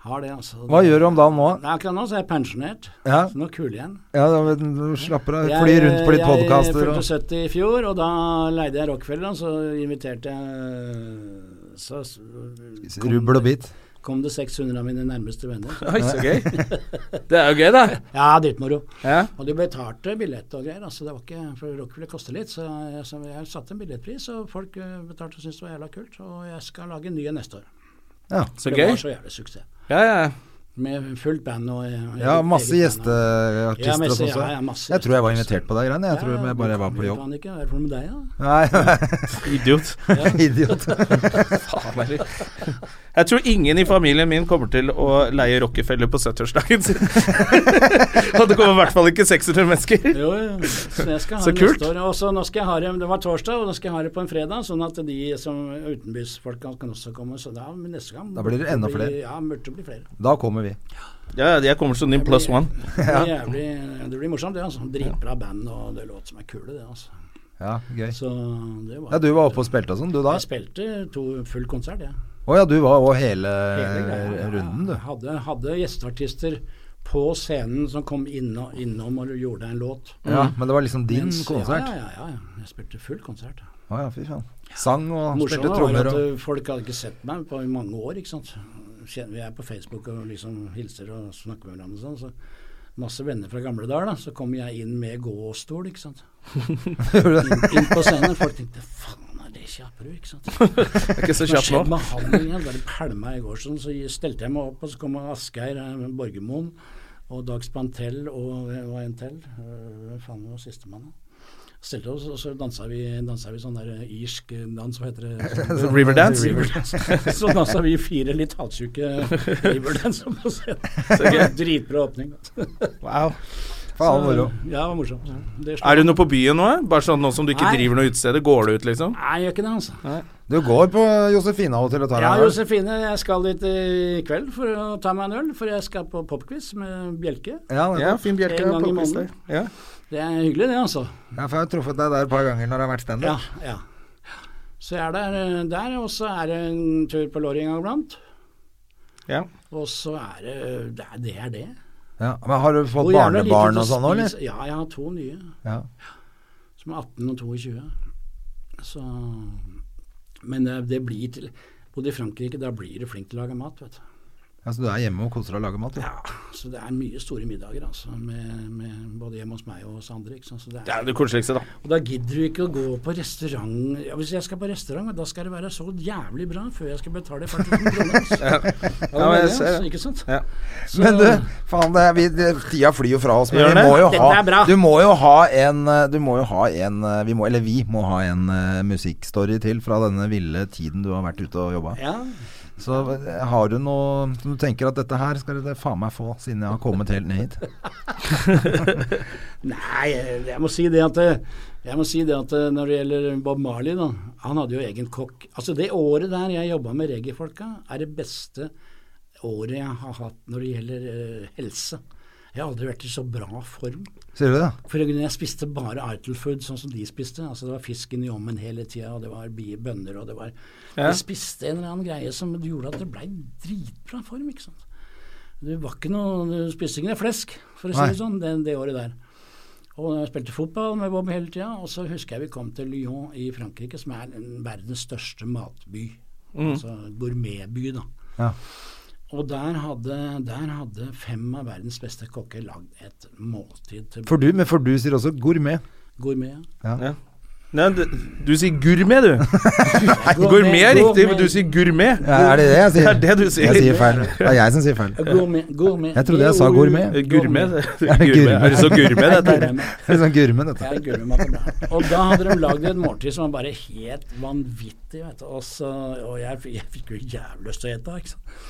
Har det, altså.
Hva gjør du om dagen nå?
Nei, Akkurat nå så er jeg pensjonert.
Ja.
Så nå kuler jeg igjen.
Ja, da, men du slapper av. Fly rundt på litt
Jeg
podkaster
fylte
og
70 i fjor, og da leide jeg Rockefeller, og så inviterte jeg Så s- kom,
rubbel og bit.
kom det 600 av mine nærmeste venner.
Oi, så gøy. Det er jo gøy, da.
Ja, dritmoro.
Ja.
Og de betalte billett og greier. Altså, det var ikke, for Rockefeller koster litt, så jeg, så jeg satte en billettpris, og folk eh, betalte og syntes det var jævla kult. Og jeg skal lage en ny neste år.
Ja.
Så
det
gøy.
var så jævlig suksess.
Ja, ja.
med fullt band. Og, og
Ja, masse
eget band. Ja,
gjesteartister og
masse-
sånn.
ja, ja,
også.
masse
Jeg tror jeg var
gjesteartister.
invitert på de greiene. Jeg tror jeg bare var på jobb.
Kan ikke, hva er det for noe med deg, da?
Nei,
Idiot.
idiot.
Jeg tror ingen i familien min kommer til å leie Rockefeller på 70-årsdagen sin. Og det kommer i hvert fall ikke 600 mennesker.
Jo, jo. Så, jeg skal ha
Så
det
kult.
neste år. Og så nå skal jeg ha det, det var torsdag, og nå skal jeg ha det på en fredag, sånn at de som utenbysfolk kan, kan også komme. Så da, men neste gang
Da blir det enda flere.
Ja, burde bli flere.
Da kommer vi.
Ja, jeg kommer som din plus one.
Det blir, jævlig, det blir morsomt, det. altså. Dritbra band og det er låt som er kule, det. altså.
Ja, gøy.
Så det var
Ja, du var oppe og spilte og sånn, du da?
Jeg spilte to full konsert, jeg.
Å ja, du var òg hele Mm.
Hele greia, ja.
Eh, runden, du.
Jeg Hadde, hadde gjesteartister på scenen som kom inno, innom og gjorde en låt.
Ja, men det var liksom din
Mens-
konsert.
Ja, ja, ja, ja. Jeg spilte full konsert. ja.
Å ja, fy faen. Sang og
Morsomt
spilte
var
trommer
at
og
uh, folk hadde ikke sett meg på i mange år, ikke sant. Kjenner- Vi er på Facebook og liksom hilser og snakker med hverandre og sånn. Så masse venner fra gamle dager, da. Så kom jeg inn med gåstol, ikke sant. Inn, inn på scenen. Folk tenkte faen er det Kjaperud, ikke sant.
Jeg er ikke så
Hva
kjapp
skjedde
nå.
med han? Jeg bare pælma i går, sånn, så stelte jeg meg opp, og så kom Asgeir eh, Borgermoen og Dag Spantell og, og en til. Eh, Hvem faen var sistemann? da? Stelte oss, og så dansa vi, dansa vi sånn der eh, irsk dans, hva heter det? Sånn,
Riverdance?
Riverdance. Så dansa vi fire litt halvsjuke Riverdance på scenen.
Så gøy.
Dritbra åpning.
Wow.
Faen, moro.
Ja, det var morsomt. Det slår-
Er du noe på byen nå? eh? Bare sånn nå som du ikke
Nei.
driver noe utested? Går du ut, liksom?
Nei, jeg gjør ikke det, altså.
Du går på Josefina-hotellet og tar
Ja,
deg en øl?
Josefine, jeg skal dit i kveld for å ta meg en øl, for jeg skal på popquiz med Bjelke.
Ja,
Ja,
nettopp.
fin bjelke.
En gang i
på
måneden.
quiz der. Ja.
Det er hyggelig, det, altså.
ja, for jeg har truffet deg der et par ganger når det har vært
Ja,
standup.
ja. Så jeg er der, eh, der og så er det en tur på låret en gang iblant.
Ja.
Og så er det Det er det. Er det.
Ja. Men har du fått
Og gjerne litt
barnebarn
ut
og sånn nå, eller?
spise- Ja, jeg har to nye,
Ja.
som er 18 og 22. Så Men det, det blir til Bodde i Frankrike, da blir du flink til å lage mat, vet du.
Ja, så du er hjemme og koser deg og lager mat? du?
Så det er mye store middager, altså, med, med både hjemme hos meg og hos andre. Ikke sant? Så det
Det
er,
er det koseligste, da.
og da gidder du ikke å gå på restaurant ja, Hvis jeg skal på restaurant, da skal det være så jævlig bra før jeg skal betale 40 000 kroner. Altså.
men jeg
Ja, det er det,
ser
altså,
det.
ikke sant?
Ja.
Så-
Men du, faen, det er, vi, det, tida flyr jo fra oss. Men
Gjør
vi
det?
må jo
Dette er
ha,
bra.
du må jo ha en eh, Du må jo ha en eh, vi må, Eller vi må ha en eh, musikkstory til fra denne ville tiden du har vært ute og jobba.
Ja,
Så eh, har du noe som du tenker at dette her skal du faen meg få, siden jeg har kommet helt ned hit?
Nei, jeg jeg må si det at eh, jeg må si det at eh, når det gjelder Bob Marley, da, han hadde jo egen kokk. Altså Det året der jeg jobba med reggae-folka, er det beste året jeg har hatt når det gjelder eh, helse. Jeg har aldri vært i så bra form.
Sier du det?
For jeg spiste bare Ital food, sånn som de spiste. Altså Det var fisken i ommen hele tida, og det var bi- bønner, og det var Jeg spiste en eller annen greie som gjorde at det blei dritbra form, ikke sant. Det var ikke noe Du spiste ikke noe flesk, for å si
Nei.
det sånn, det, det året der. Og jeg spilte fotball med Bob hele tida, og så husker jeg vi kom til Lyon i Frankrike, som er en- verdens største matby. Altså gourmetby, da.
Mm. Ja.
Og der hadde, der hadde fem av verdens beste kokker lagd et måltid til
For du, men for du sier også gourmet.
gourmet.
Ja. Nei, du, du sier gourmet, du. Gourmet er riktig, men du sier gourmet.
Ja, er det det jeg sier?
Det er det du sier.
Jeg sier feil. Det er jeg som sier feil.
Gourmet, gourmet.
Jeg trodde jeg sa gourmet.
Eh, Gourmet.
Er det
Gourmet. Er det så gourmet, dette her?
Gourmet.
Det er sånn gourmet, dette.
Ja, gourmet matematikk. og da hadde de lagd et måltid som var bare helt vanvittig, vet du. Og, så, og jeg, f- jeg fikk jo jævlig lyst til å ete, ikke sant.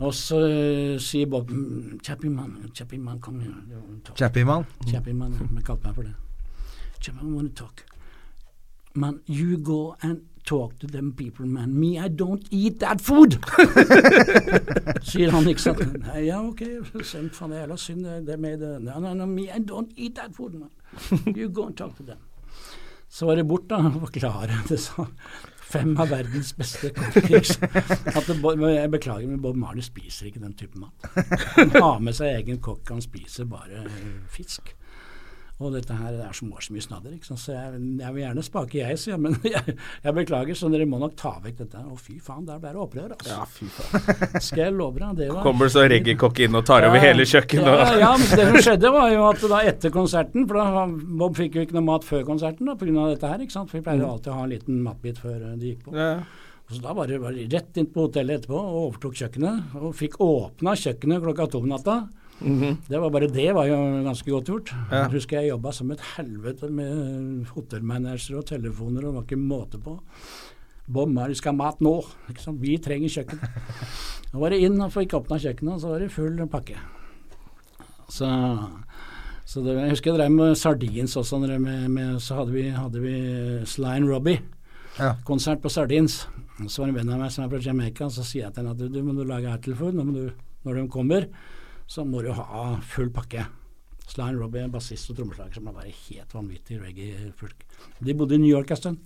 Og så eh, sier Bob "Mm, Chappie man, Chappie man, kom her.
Chappie, mann.
Chappie man, de kalte meg for det. Chappie man, wanna talk. Man, you go and talk to them people, man. Me, I don't eat that food! Sier han, ikke sant. Nei, ja, ok, Send faen, det er jævla synd. det- Det med det. No, no, no, me, I don't eat that food, man. You go and talk to them. Så var det bort, da, og forklare det sa Fem av verdens beste kokker. At det, Bob- men jeg beklager, men Bob Marley spiser ikke den typen mat. Han har med seg egen kokk, han spiser bare eh, fisk. Og dette her det er som går så mye snadder. Ikke sant? Så jeg, jeg vil gjerne spake, jeg, sier jeg, men jeg, jeg beklager, så dere må nok ta vekk dette. her. Å, fy faen, der ble det opprør, altså. Skal jeg love deg. Det var
Kommer det så reggaekokk inn og tar over
Ja,
hele kjøkkenet
Ja,
og
ja, men det som skjedde, var jo at da etter konserten For da Bob
Mm.
fikk jo ikke noe mat før konserten da, pga. dette her. ikke sant? For vi pleier jo alltid å ha en liten matbit før eh, de gikk på.
Ja.
Så da bare, bare rett inn på hotellet etterpå og overtok kjøkkenet. Og fikk åpna kjøkkenet klokka to om natta. Det var bare det var jo ganske godt gjort.
Ja.
Jeg husker jeg jobba som et helvete med hotellmanagere og telefoner, og det var ikke måte på. Bomma, du skal ha mat nå! Ikke sant? Vi trenger kjøkken. Da var det inn og fikk åpna kjøkkenet, og så var det full pakke. Så så det, jeg husker jeg drev med sardins også, når jeg med, med, så hadde vi, hadde vi Sline Robbie.
Ja.
Konsert på Sardins. Og Så var det en venn av meg som er fra Jamaica, og så sier jeg til henne at du, du må du lage Atleford nå må du, når de kommer, så må du ha full pakke. Sline Robbie er bassist og trommeslager som er bare helt vanvittig reggae-folk. De bodde i New York en stund.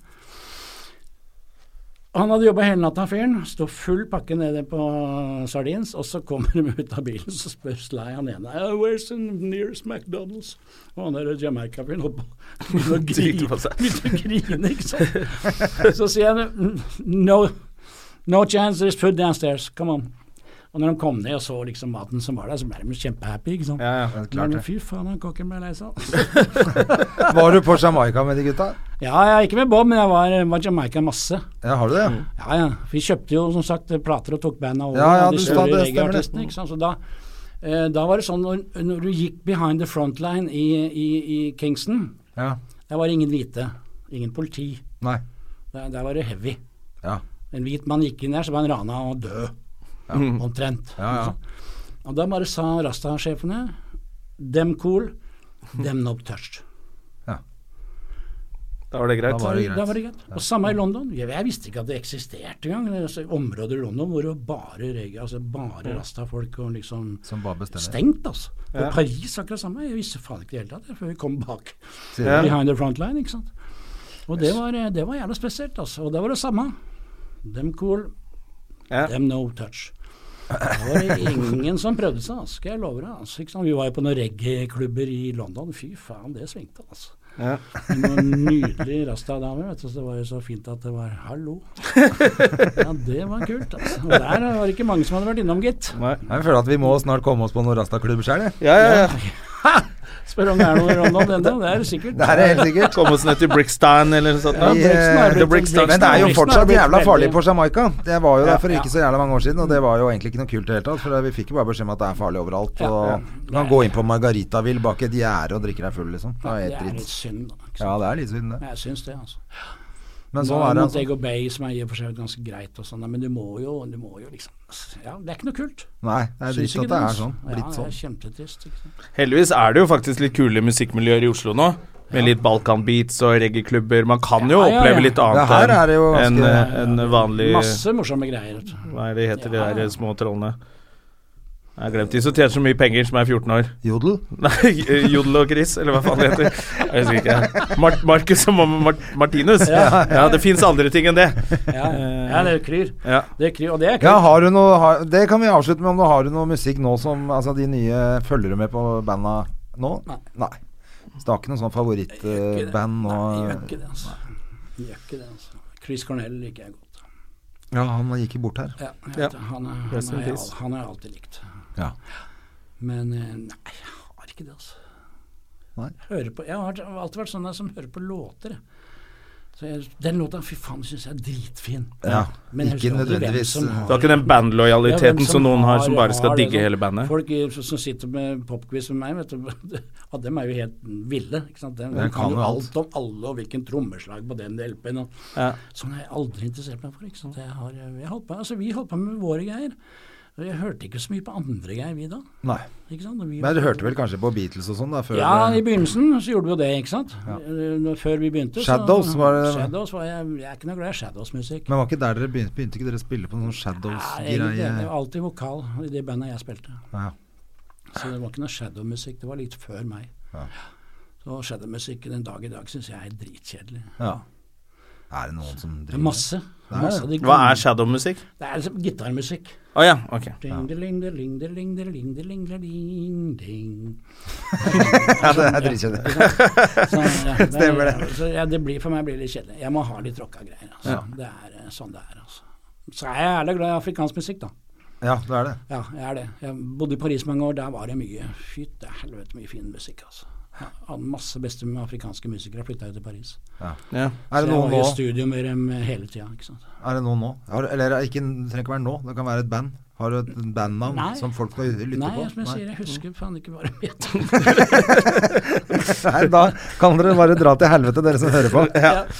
Han hadde jobba hele natta, fyren. Sto full pakke nede på Sardins. Og så kommer de ut av bilen, så spør Sly han ene «Uh, Where's the nearest McDonald's? Og han der Jamaica-fyren holdt på- begynte å
Driter
grine,
på seg.
begynte å grine, ikke sant. Så sier han «Mm, No, no chance, there's food downstairs. Come on. Og når de kom ned og så liksom maten som var der, så ble de kjempehappy, ikke sant.
Ja, ja.
klart
Men
det.
fy faen, han kokken ble lei seg. altså.
Var du på Jamaica med de gutta?
Ja, jeg er ikke med Bob, men jeg var, var Jamaica masse.
Ja, har du det?
Ja, ja. Vi kjøpte jo som sagt plater og tok banda over.
Ja, ja,
og de
du
store
sa det, stemmer det.
reggaeartistene, ikke sant? Så da, eh, da var det sånn når, når du gikk behind the front line i, i, i Kingston,
Ja.
der var det ingen hvite, ingen politi.
Nei.
Der, der var det heavy.
Ja.
En hvit mann gikk inn der, så var han rana og død. Omtrent.
Ja, ja.
Og da bare sa Rasta-sjefene Dem cool, dem no touch.
Da var det greit.
Da var det greit.
Da var det greit. Og samme i London. Jeg, jeg visste ikke at det eksisterte engang. Det er Altså, områder i London hvor det var bare reggae, altså bare Rasta-folk og liksom
Som bare bestemmer.
Stengt, altså. Og Paris akkurat samme. Jeg visste faen ikke i det hele tatt jeg, før vi kom bak.
Sier
Ja.
Behind the front line, ikke sant. Og det var, eh, det var jævla spesielt, altså. Og det var det samme. Dem cool,
Ja.
dem no touch. Da var det ingen som prøvde seg, altså, skal jeg love deg. Altså, ikke sant? Vi var jo på noen reggae-klubber i London. Fy faen, det svingte, altså.
Ja.
Men Noen nydelige rasta-damer, vet du. Så det var jo så fint at det var hallo. Ja, det var kult, altså. Og der var det ikke mange som hadde vært innom, gitt.
Nei.
Jeg føler at vi må snart komme oss på noen Rasta-klubb sjøl, jeg.
Ja, ja, ja.
Spør om det er noe i London ennå, det er det sikkert.
Det er det helt sikkert.
Komme oss ned til Brickstan eller noe sånt.
Ja,
da.
Brick-
Brixton har
eh,
blitt-
The Brixton.
Men det er jo
Brixton har
fortsatt
blitt
jævla
veldig-
farlig på Jamaica. Det var jo
Ja,
der for
ja.
ikke så jævla mange år siden, og det var jo egentlig ikke noe kult i det hele tatt. For vi fikk jo bare beskjed om at det er farlig overalt.
Ja, ja.
Og du kan gå inn på Margaritaville bak et gjerde og drikke deg full, liksom. Det er
Det
helt
er litt
dritt.
synd, da. Ikke sant?
Ja, det er litt synd, det.
Jeg syns det, altså.
Men
Så
sånn er det. altså.
Montego Bay, som er i og for seg ganske greit, og sånn, da, men du må, jo, du må jo liksom Ja, det er ikke noe kult.
Nei, det er
Syns
dritt
ikke
at det er
altså.
sånn. Blitt
Ja,
sånn.
det er kjempetrist. Ikke sant?
Heldigvis er det jo faktisk litt kule musikkmiljøer i Oslo nå. Med litt balkanbeats og reggaeklubber. Man kan jo
Ja, ja, ja.
oppleve litt
Ja,
annet
her er det jo
enn
ganske-
eh, enn vanlig
Masse morsomme greier. vet du.
Hva er det de heter,
Ja,
de
ja.
der små trollene? Jeg har glemt de som tjener så mye penger, som er 14 år.
Jodel?
Nei, Jodel og Chris, eller hva faen de heter. Jeg husker ikke. Mar Marcus og Mar Martinus. Ja, det fins andre ting enn det.
Ja, ja det kryr.
Ja.
Det kryr, og det er kult.
Ja, har du noe har, Det kan vi avslutte med om du har du noe musikk nå som Altså de nye Følger du med på banda nå?
Nei.
Så det er ikke noe sånn favorittband nå?
Nei, jeg gjør ikke det, altså. Jeg Gjør ikke det, altså. Chris Cornell liker jeg godt.
Ja, han gikk jo bort her.
Ja, jeg
Ja.
vet det. han, er,
Rest
han,
in
er, jeg
peace.
al- han har jeg alltid likt.
Ja.
Men eh, nei, jeg har ikke det, altså.
Nei.
Hører på, jeg har alltid vært sånn der som hører på låter. jeg. Så jeg, den låta fy faen syns jeg er dritfin.
Ja, ikke
jeg husker aldri hvem
nødvendigvis,
som
eh,
har-
Du har ikke den
Ja, hvem
bandlojaliteten som noen har, som bare skal
har det,
digge
sånn.
hele bandet.
Folk i- som- som sitter med popquiz med meg, vet du, ja, dem er jo helt ville. Ikke sant? De,
Den
kan jo alt om alle og hvilken trommeslag på den LP-en. og-
Ja.
Sånn er jeg aldri interessert meg for. Ikke sant? Jeg har, jeg holdt på, altså, vi holdt på med våre greier. Og Jeg hørte ikke så mye på andre greier, vi da.
Nei.
Ikke sant? Og Vi
Men du hørte vel kanskje på Beatles og sånn, da? Før
ja, i
det-
begynnelsen så gjorde vi jo det, ikke sant. Eh, når- Før vi begynte.
Shadows
så,
var det-
Shadows var jeg, jeg er ikke noe glad i Shadows-musikk.
Men var ikke der dere begynte, begynte ikke dere å spille på noen sånn
Nei, egentlig, Det
Shadows-greie?
var alltid vokal i de bandene jeg spilte.
Ja.
Så det var ikke noe shadow-musikk. Det var litt før meg.
Ja.
Så shadow-musikk den dag i dag syns jeg er dritkjedelig.
Ja. Er det noen som
Det er
driver
masse. masse av de
Hva
gamle-
er shadowmusikk?
Det er liksom gitarmusikk.
Å ja, ok.
Ding, ding, ding, ding, ding, ding, ding, ding.
Ja, det er dritkjedelig.
Så, ja, det,
Stemmer det.
Så, ja, det blir, for meg blir det litt kjedelig. Jeg må ha litt rocka greier. Altså. Det er eh, sånn det er. Altså. Så er jeg jævlig glad i afrikansk musikk, da.
Ja, det er det.
Ja, jeg er det. Jeg bodde i Paris mange år, der var det mye Fytte helvete mye fin musikk, altså. Han masse beste med afrikanske musikere flytta jo til Paris.
Ja.
Er
Så
det
jeg
noen
var jo
nå?
i studio med dem eh, hele tida. ikke sant?
Er det noen nå? Har, eller ikke, det trenger ikke være nå, det kan være et band. Har du et bandnavn
Nei.
som folk skal lytte
Nei,
på?
som jeg sier, jeg husker faen ikke hva de het.
Nei, da kan dere bare dra til helvete, dere som hører på.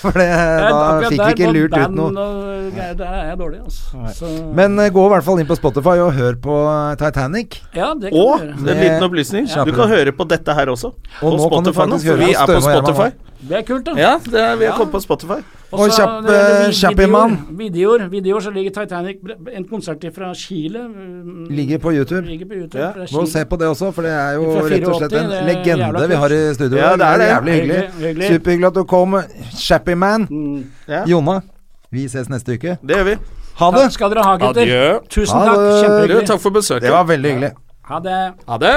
For det, da
Akkurat
fikk vi
der
ikke
på
lurt ut
band
noe.
og greier, Der er jeg dårlig, altså. Så,
Men eh, gå i hvert fall inn på Spotify og hør på eh, Titanic.
ja, det kan
Og
du gjøre.
en liten opplysning,
Ja.
du kan høre på dette her også.
Og
på
nå kan du
Spotify nå,
faktisk
for
høre
vi
på
er på
Støme og
Spotify.
Det er kult, da.
Ja, det er, vi har
Ja.
kommet på Spotify.
Og
så
kjapp,
når det gjelder
eh,
vi-
kjapp i
videoer-
mann.
Videoer, videoer så ligger Titanic En konsert fra Chile mm,
Ligger på YouTube.
Ligger på YouTube
Ja,
fra
Gå og se
Chile.
på det også, for det er jo
Fra
rett og slett en
84, det er jævla
legende
kult.
vi har i studio.
Ja, det er det.
Jævlig hyggelig.
Hyggelig, hyggelig. Mm,
Superhyggelig at du kom, Chappy Man.
Ja.
Jonna, vi ses neste uke.
Det gjør vi.
Ha det!
Skal dere ha, gutter?
Adjø.
Tusen
Ha
takk.
det.
Du,
Kjempehyggelig.
takk for besøket.
Det var veldig hyggelig.
Ha det.
Ha det.